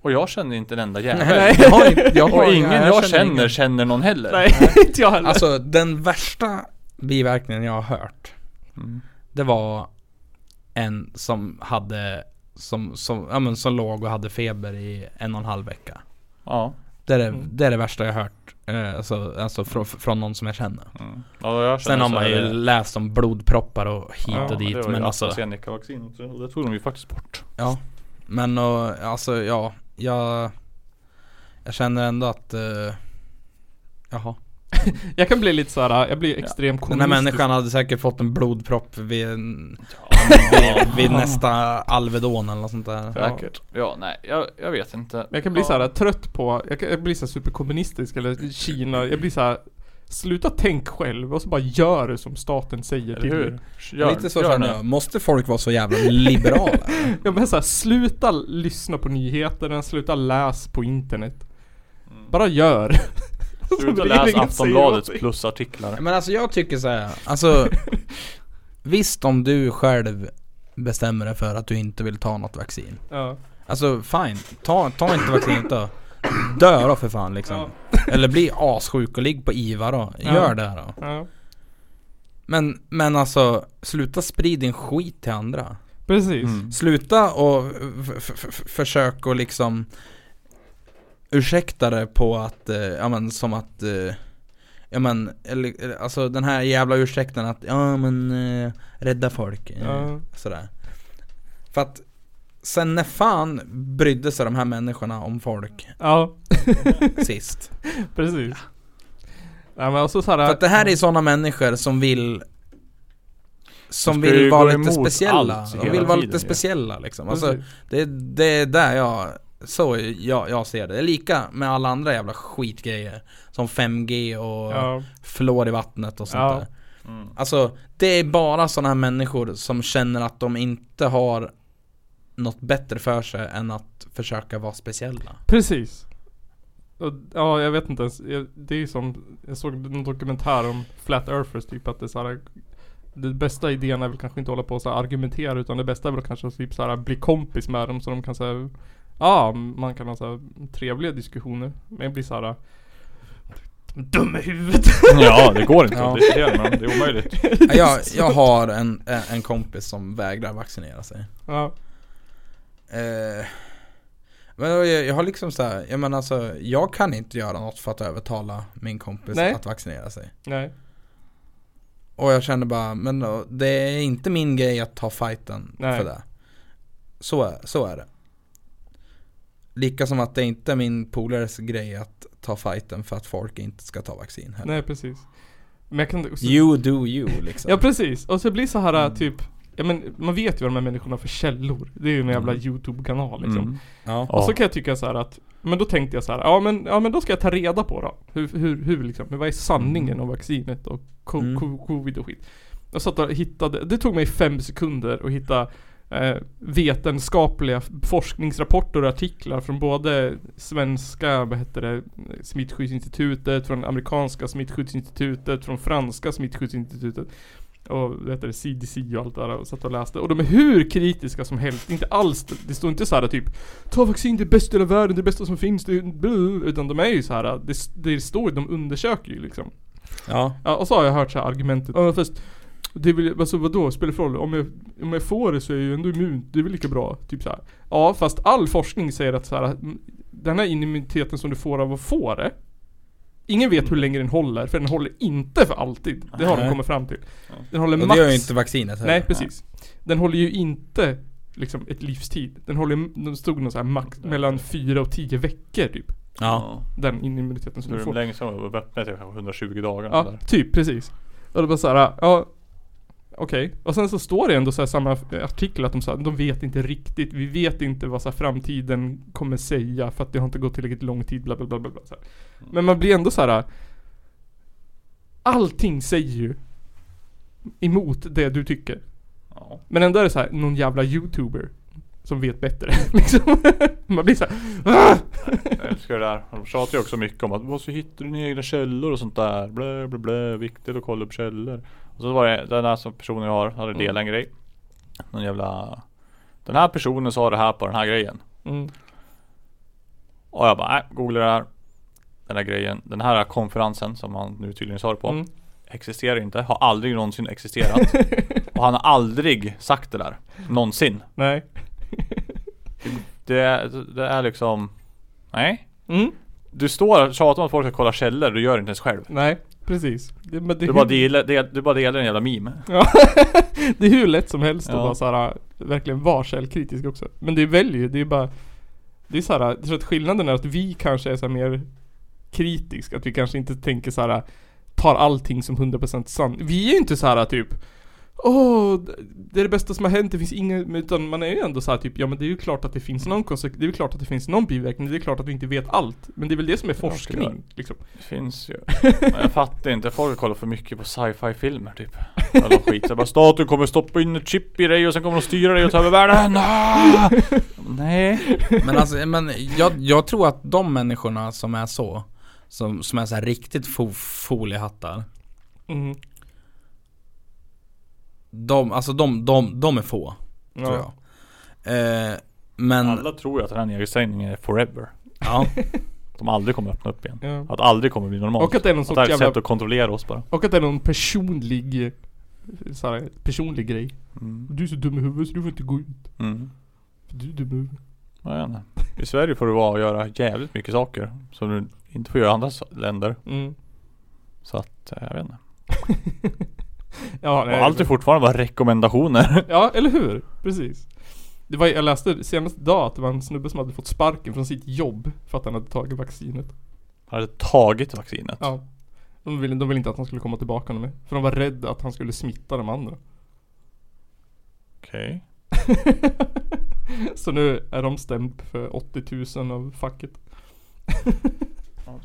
F: Och jag känner inte en
A: (laughs)
F: enda jävel.
A: jag har inte, jag har
F: Och
A: inga-
F: ingen jag känner
A: ingen.
F: känner någon heller.
B: Nej, (laughs) inte jag heller.
A: Alltså den värsta biverkningen jag har hört
F: Mm.
A: Det var en som hade som, som, ja, men, som låg och hade feber i en och en halv vecka.
F: Ja.
A: Det är det,
B: Mm.
A: det, är det värsta jag hört. Eh, alltså alltså från, från någon som jag känner.
F: Mm. ja jag känner
A: Sen har
F: så
A: man
F: här,
A: ju
F: eh,
A: läst om blodproppar och hit
F: ja,
A: och
F: Det
A: dit.
F: var ju
A: Men alltså,
F: AstraZeneca-vaccin också. och Det tog de ju faktiskt bort.
A: men och, alltså ja, jag, jag känner ändå att eh, Jaha.
B: Jag kan bli lite såhär, jag blir
F: Ja.
B: extremt
A: Den här
B: kommunistisk.
A: människan hade säkert fått en blodpropp vid, en-
F: Ja,
A: vid nästa Alvedon eller något sånt där.
F: Säkert. Ja, nej, jag, jag vet inte.
B: Men jag kan bli
F: ja.
B: så här trött på, jag, kan, jag blir så här superkommunistisk eller Kina, jag blir så här. Sluta tänk själv och så bara gör det som staten säger
F: Eller
B: till
F: hur?
B: hur?
F: Gör,
A: Lite så
F: gör
A: känner
F: nu.
A: jag. Måste folk vara så jävla liberala?
B: Ja men såhär, sluta lyssna på nyheterna, sluta läs på internet. Bara gör. (laughs)
F: Sluta
B: Regeringen
F: läsa
B: säger
F: Aftonbladets
B: någonting. Mm.
F: plusartiklar.
A: Men alltså jag tycker så här. alltså Visst om du själv bestämmer dig för att du inte vill ta något vaccin.
B: Ja.
A: Alltså fine, ta, ta inte vaccinet då. Dö då för fan liksom. Eller bli assjuk och ligg på IVA då.
B: Ja.
A: Gör det då.
B: ja.
A: Men, men alltså, sluta sprid din skit till andra.
B: Precis.
F: Mm.
A: Sluta och f- f- f- försök att liksom ursäkta det på att, eh, ja men som att, eh, ja men, eller, eller, alltså den här jävla ursäkten att, ja men, eh, rädda folk. Eh,
B: Ja.
A: Sådär. För att sen när fan brydde sig de här människorna om
F: (laughs)
A: folk
B: ja, (laughs)
A: sist?
B: precis. Nej men alltså
A: För
B: såhär,
A: att det här är sådana människor som vill som
F: De ska ju
A: vill vara
F: gå
A: lite
F: emot
A: speciella.
F: allt
A: De
F: hela
A: vill vara
F: tiden
A: lite
F: ju.
A: speciella liksom. Alltså,
B: Alltså,
A: Det, det är där jag, så jag, jag ser det. det. är Lika med alla andra jävla skitgrejer. Som 5G och
B: ja.
A: fluor i vattnet och sånt
B: Ja.
A: där.
F: Mm.
A: Alltså, det är bara sådana här människor som känner att de inte har något bättre för sig än att försöka vara
B: (laughs)
A: speciella.
B: Precis. Och, ja, jag vet inte ens. Jag, det är ju som, jag såg en dokumentär om Flat Earthers typ att det är så här, Det bästa idén är väl kanske inte att hålla på och så här, argumentera utan det bästa är väl kanske att typ så här, bli kompis med dem så de kan säga Ja, man kan ha så här, trevliga diskussioner. Men jag blir så här. Dum i huvudet. (laughs)
F: Ja, det går inte
A: Ja.
F: att diskutera med dem. Det är
B: Mm.
F: omöjligt.
A: Jag, jag har en, en- en kompis som vägrar vaccinera sig.
B: Ja.
A: Eh, men jag, jag har liksom såhär, jag menar alltså, jag kan inte göra något för att övertala min kompis
B: Nej.
A: att vaccinera sig.
B: Nej.
A: Och jag kände bara, men då, det är inte min grej att ta fighten
B: Nej.
A: för det. Så, är- så är det. Lika som att det inte är min polares grej att ta fighten för att folk inte ska ta vaccin heller.
B: Nej precis. Men jag kan också,
A: You do you liksom.
B: Ja precis, och så blir det så här typ Ja men man vet ju vad de här människorna har för källor Det är ju en jävla youtube-kanal liksom
F: Mm.
A: Ja.
F: Ja.
B: Och så kan jag tycka så här att Men då tänkte jag så här, ja men, ja men då ska jag ta reda på då Hur, hur, hur liksom, men vad är sanningen om vaccinet och co-
A: Mm.
B: co- covid och skit Jag satt och hittade, det tog mig fem sekunder att hitta eh, Vetenskapliga forskningsrapporter och artiklar från både Svenska, vad heter det Smittskyddsinstitutet, från amerikanska smittskyddsinstitutet, från franska smittskyddsinstitutet och vad heter det, CDC och allt det där och satt och läste. Och de är hur kritiska som helst. Inte alls, det står inte så här typ Ta vaccin, det är bäst i hela världen, det bästa som finns, det är bluh", Utan de är ju så här det, det står ju, de undersöker ju liksom.
A: ja.
B: Ja, och så har jag hört så här argumentet. Ja, fast det är väl, alltså vadå, spelar det för roll? Om jag, om jag får det så är jag ju ändå immun, det är väl lika bra? Typ så här. Ja, fast all forskning säger att så här, m, den här immuniteten som du får av att få det Ingen vet hur länge den håller, för den håller inte för alltid. Det har de
A: Nej.
B: kommit fram till. Den håller
A: Och
B: max...
A: det gör ju inte vaccinet heller.
B: Nej, precis. Den håller ju inte liksom ett livstid. Den håller, den stod någon så här max mellan 4 och 10 veckor typ.
A: Ja.
B: Den immuniteten som
F: Nu
B: du
F: är
B: får.
F: de längst fram och öppnat kanske 120 dagar.
B: Ja,
F: Där.
B: typ precis. Och det bara såhär, ja. Okej. Och sen så står det ändå så här samma artikel att de sa, de vet inte riktigt. Vi vet inte vad så här framtiden kommer säga för att det har inte gått tillräckligt lång tid bla bla bla bla. bla så här. Men man blir ändå så här. Allting säger ju emot det du tycker.
F: Ja.
B: Men ändå är det så här, någon jävla youtuber som vet bättre. (laughs) liksom. Man blir så här, "Ah!"
F: Jag älskar det där. De tjatar ju också mycket om att "Vad, så hittar du dina egna källor och sånt där. Blä, blä, blä. Viktigt att kolla upp källor. Och så var det den här som personen jag har, hade
B: Mm.
F: delat en grej. Någon jävla Den här personen sa det här på den här grejen.
B: Mm.
F: Och jag bara, nej, googla det här. Den här grejen, den här konferensen som han nu tydligen sa det på.
B: Mm.
F: Existerar inte, har aldrig någonsin existerat. och han har aldrig sagt det där. Någonsin.
B: Nej.
F: Det, är- det är liksom, nej.
B: Mm.
F: Du står och tjatar om att folk ska kolla källor, du gör det inte ens själv.
B: Nej, precis. Det, men det
F: Du
B: är (laughs)
F: bara,
B: hur-
F: delar, del, du bara delar en jävla meme.
B: Ja, det är hur lätt som helst att
F: Ja.
B: vara såhär, verkligen vara källkritisk också. Men det väljer ju, det är bara Det är såhär, jag tror att skillnaden är att vi kanske är så här mer kritisk, att vi kanske inte tänker såhär Tar allting som 100% sant. Vi är ju inte såhär typ Åh, det är det bästa som har hänt, det finns inget, utan man är ju ändå såhär typ Ja men det är ju klart att det finns någon konsek- det är ju klart att det finns någon biverkning, det är klart att vi inte vet allt. Men det är väl det som är
F: Klart det
B: forskning,
F: gör.
B: liksom.
F: Det finns ju. Men jag fattar inte, folk kollar för mycket på sci-fi filmer typ. Alla skit. Jag bara, staten kommer stoppa in ett chip i dig och sen kommer de styra dig och ta över världen. Ah! Nej.
A: Men alltså, men jag, jag tror att de människorna som är så, som, som är så här riktigt fo- foliehattar,
B: Mm.
A: de, alltså de, de, de är få, tror jag.
B: Ja.
A: Eh, men,
F: Alla tror ju att den här nedstängningen är forever.
A: ja.
F: De aldrig kommer öppna upp igen.
B: Ja.
F: Att aldrig kommer bli normalt.
B: Och att det är någon
F: Att det här
B: sorts
F: är ett
B: jävla
F: sätt att kontrollera oss bara.
B: Och att det är någon personlig eh, så här, personlig grej.
F: Mm.
B: Du är så dum i huvudet så du får inte gå ut.
F: Mm.
B: För du är dum i huvudet.
F: Ja, jag vet inte. I Sverige får du vara och göra jävligt mycket saker som du inte får göra i andra s- länder.
B: Mm.
F: Så att, eh, jag vet inte.
B: Ja,
F: Och
B: nej,
F: allt är fortfarande bara rekommendationer.
B: (laughs)
F: (laughs)
B: ja, eller hur? Precis. Det var, jag läste senast idag att det var en snubbe som hade fått sparken från sitt jobb för att han hade tagit vaccinet.
F: Han hade tagit vaccinet.
B: Ja. De ville, de ville inte att han skulle komma tillbaka med. För de var rädda att han skulle smitta de andra. (laughs)
F: Okej.
B: Så nu är de stämd för 80 000 av facket.
F: Ja.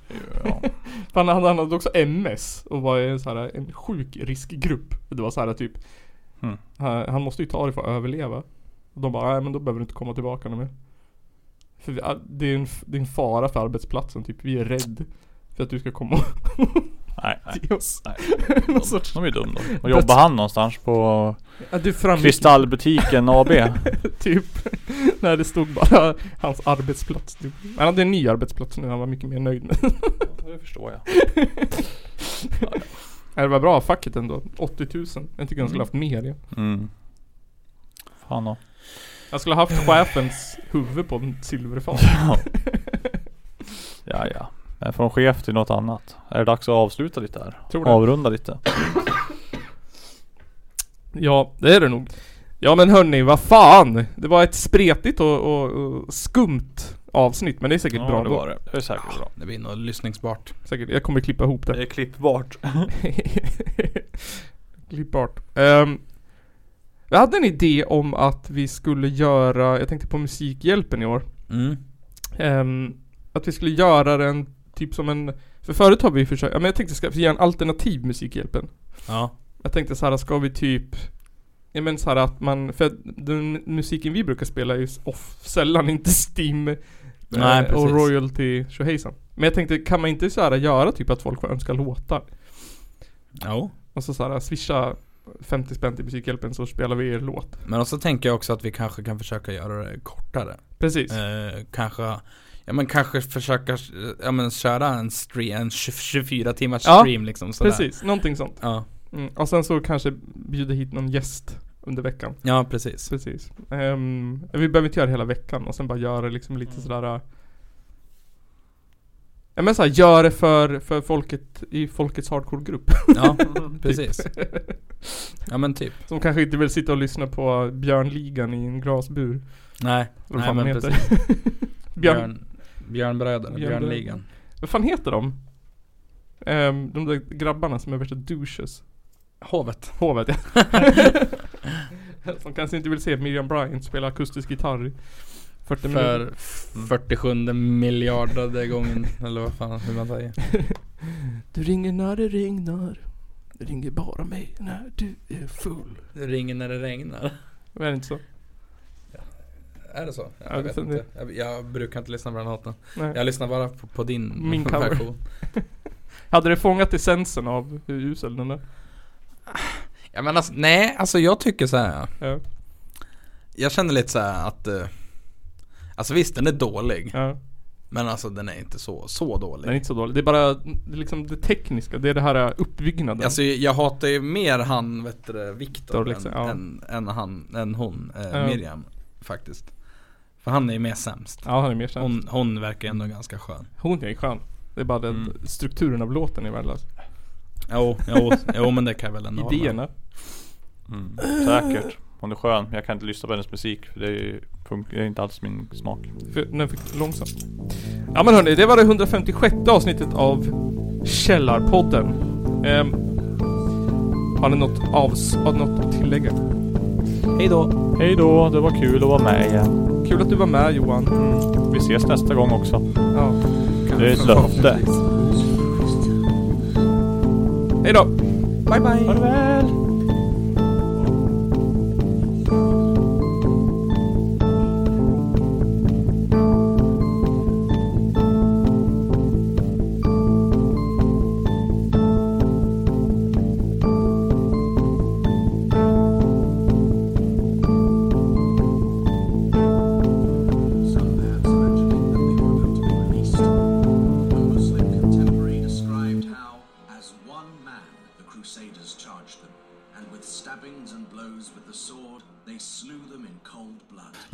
B: För han, han hade också MS och var i en, så här, en sjuk riskgrupp. Det var så här typ
F: Mm.
B: han, han måste ju ta det för att överleva. Och de bara, nej men då behöver du inte komma tillbaka nu mer. För vi, ah, det, är en, f- det är en fara för arbetsplatsen typ. Vi är rädd för att du ska komma
F: Nej, nej.
B: till oss.
F: nej.
B: (laughs) Någon sorts...
F: De är ju dum då. Och jobbar han någonstans på
B: Ja, det framgick
F: Kristallbutiken AB?
B: (laughs) typ. Nej det stod bara hans arbetsplats. Typ. Men han hade en ny arbetsplats nu han var mycket mer nöjd med. (laughs)
F: Det förstår jag.
B: Nej, det var bra av facket ändå. 80 000. Jag tycker han skulle haft mer. Ja.
F: Mm. Fan då.
B: Jag skulle ha haft chefens huvud på en silverfat.
F: (laughs) Ja, ja. Men från chef till något annat. Är det dags att avsluta lite här?
B: Tror det.
F: Avrunda lite.
B: Ja, det är det nog. Ja men hörni, vad fan. Det var ett spretigt och, och, och skumt avsnitt men det är säkert bra
F: det
B: ändå.
F: var det. Det är säkert bra.
A: Det blir nog lyssningsbart.
B: Säkert, jag kommer klippa ihop det.
F: är klippbart.
B: (laughs) Klippbart. Um, jag hade en idé om att vi skulle göra, jag tänkte på Musikhjälpen i år.
A: Mm.
B: Ehm, att vi skulle göra den typ som en, för förut har vi försökt, ja men jag tänkte ska vi göra en alternativ Musikhjälpen.
A: Ja.
B: Jag tänkte så här, ska vi typ Ja men så här att man, för att den musiken vi brukar spela är ju off, sällan inte Steam eh,
A: Nej, precis.
B: och royalty tjohejsan. Men jag tänkte, kan man inte så här göra typ att folk får önska låtar?
A: Jo.
B: Och så, så här swisha 50 spänn till Musikhjälpen så spelar vi er låt.
A: Men också tänker jag också att vi kanske kan försöka göra det kortare.
B: Precis.
A: Eh, kanske, ja men kanske försöka, eh, ja men köra en stream, en 24 timmars
B: Ja,
A: stream liksom sådär.
B: precis, någonting sånt.
A: Ja,
B: Mm. Och sen så kanske bjuda hit någon gäst under veckan.
A: ja precis.
B: Precis. Ehm, vi behöver inte göra det hela veckan och sen bara göra liksom lite
A: Mm.
B: sådär äh, Ja men såhär, gör det för, för folket i folkets hardcore-grupp. (laughs)
A: (laughs) Ja, precis. Ja men typ.
B: Som kanske inte vill sitta och lyssna på Björnligan i en glasbur.
A: Nej,
B: Eller vad
A: Nej,
B: fan
A: men
B: den heter.
A: precis.
B: (laughs) Björn,
A: Björn, Björnbröderna,
B: Björnbröderna.
A: Björnligan.
B: Vad fan heter de? Ehm, de där grabbarna som är värsta douches.
A: Hovet.
B: Hovet
A: (laughs)
B: ja. (laughs) Som kanske inte vill se Miriam Bryant spela akustisk gitarr i 40 minuter.
A: För 47 miljardrade gången, eller vad fan hur man säger.
B: Du ringer när det regnar. Du ringer bara mig när du är full.
A: Det ringer när det regnar.
B: Är det inte så?
A: Är det så? Jag
B: Ja, det
A: vet
B: stämmer.
A: inte. Jag, jag brukar inte lyssna på den låten.
B: Nej.
A: Jag lyssnar bara på, på din
B: Min cover.
A: version.
B: Hade det fångat essensen av hur usel den är?
A: Ja men alltså, nej, alltså jag tycker så här.
B: Ja.
A: Jag känner lite så här att eh, Alltså visst den är dålig
B: ja.
A: Men alltså den är inte så, så dålig
B: Den är inte så dålig. Det är bara det, är liksom det tekniska. Det är det här äh, uppbyggnaden.
A: Alltså jag hatar ju mer han, vet du, det, Viktor
B: Viktor, liksom,
A: än,
B: ja.
A: än, än han, än hon, eh,
B: Ja.
A: Miriam Faktiskt För han är ju mer sämst
B: ja, han är mer känd. Hon,
A: hon, hon verkar ändå ganska skön
B: hon är skön. Det är bara den
F: Mm.
B: strukturen av låten är värdelös.
A: Jo, jo, jo men det kan jag väl
B: (laughs)
A: ändå hålla med.
B: Idéerna.
F: Mm, säkert. Hon är skön, men jag kan inte lyssna på hennes musik för det är, ju fun- det är inte alls min smak.
B: För den fick långsamt. Ja men hörni, det var det 156 avsnittet av Källarpodden. Ehm, har ni något, avs- har ni något att tillägga?
F: Hej då, det var kul att vara med igen.
B: Kul att du var med Johan.
F: Vi ses nästa gång också.
B: Ja.
F: Det är ett löfte.
B: Hej då! Bye bye!
F: Ha det väl!
H: A Muslim contemporary described how, as one man, the Crusaders charged them, and with stabbings and blows with the sword, they slew them in cold blood.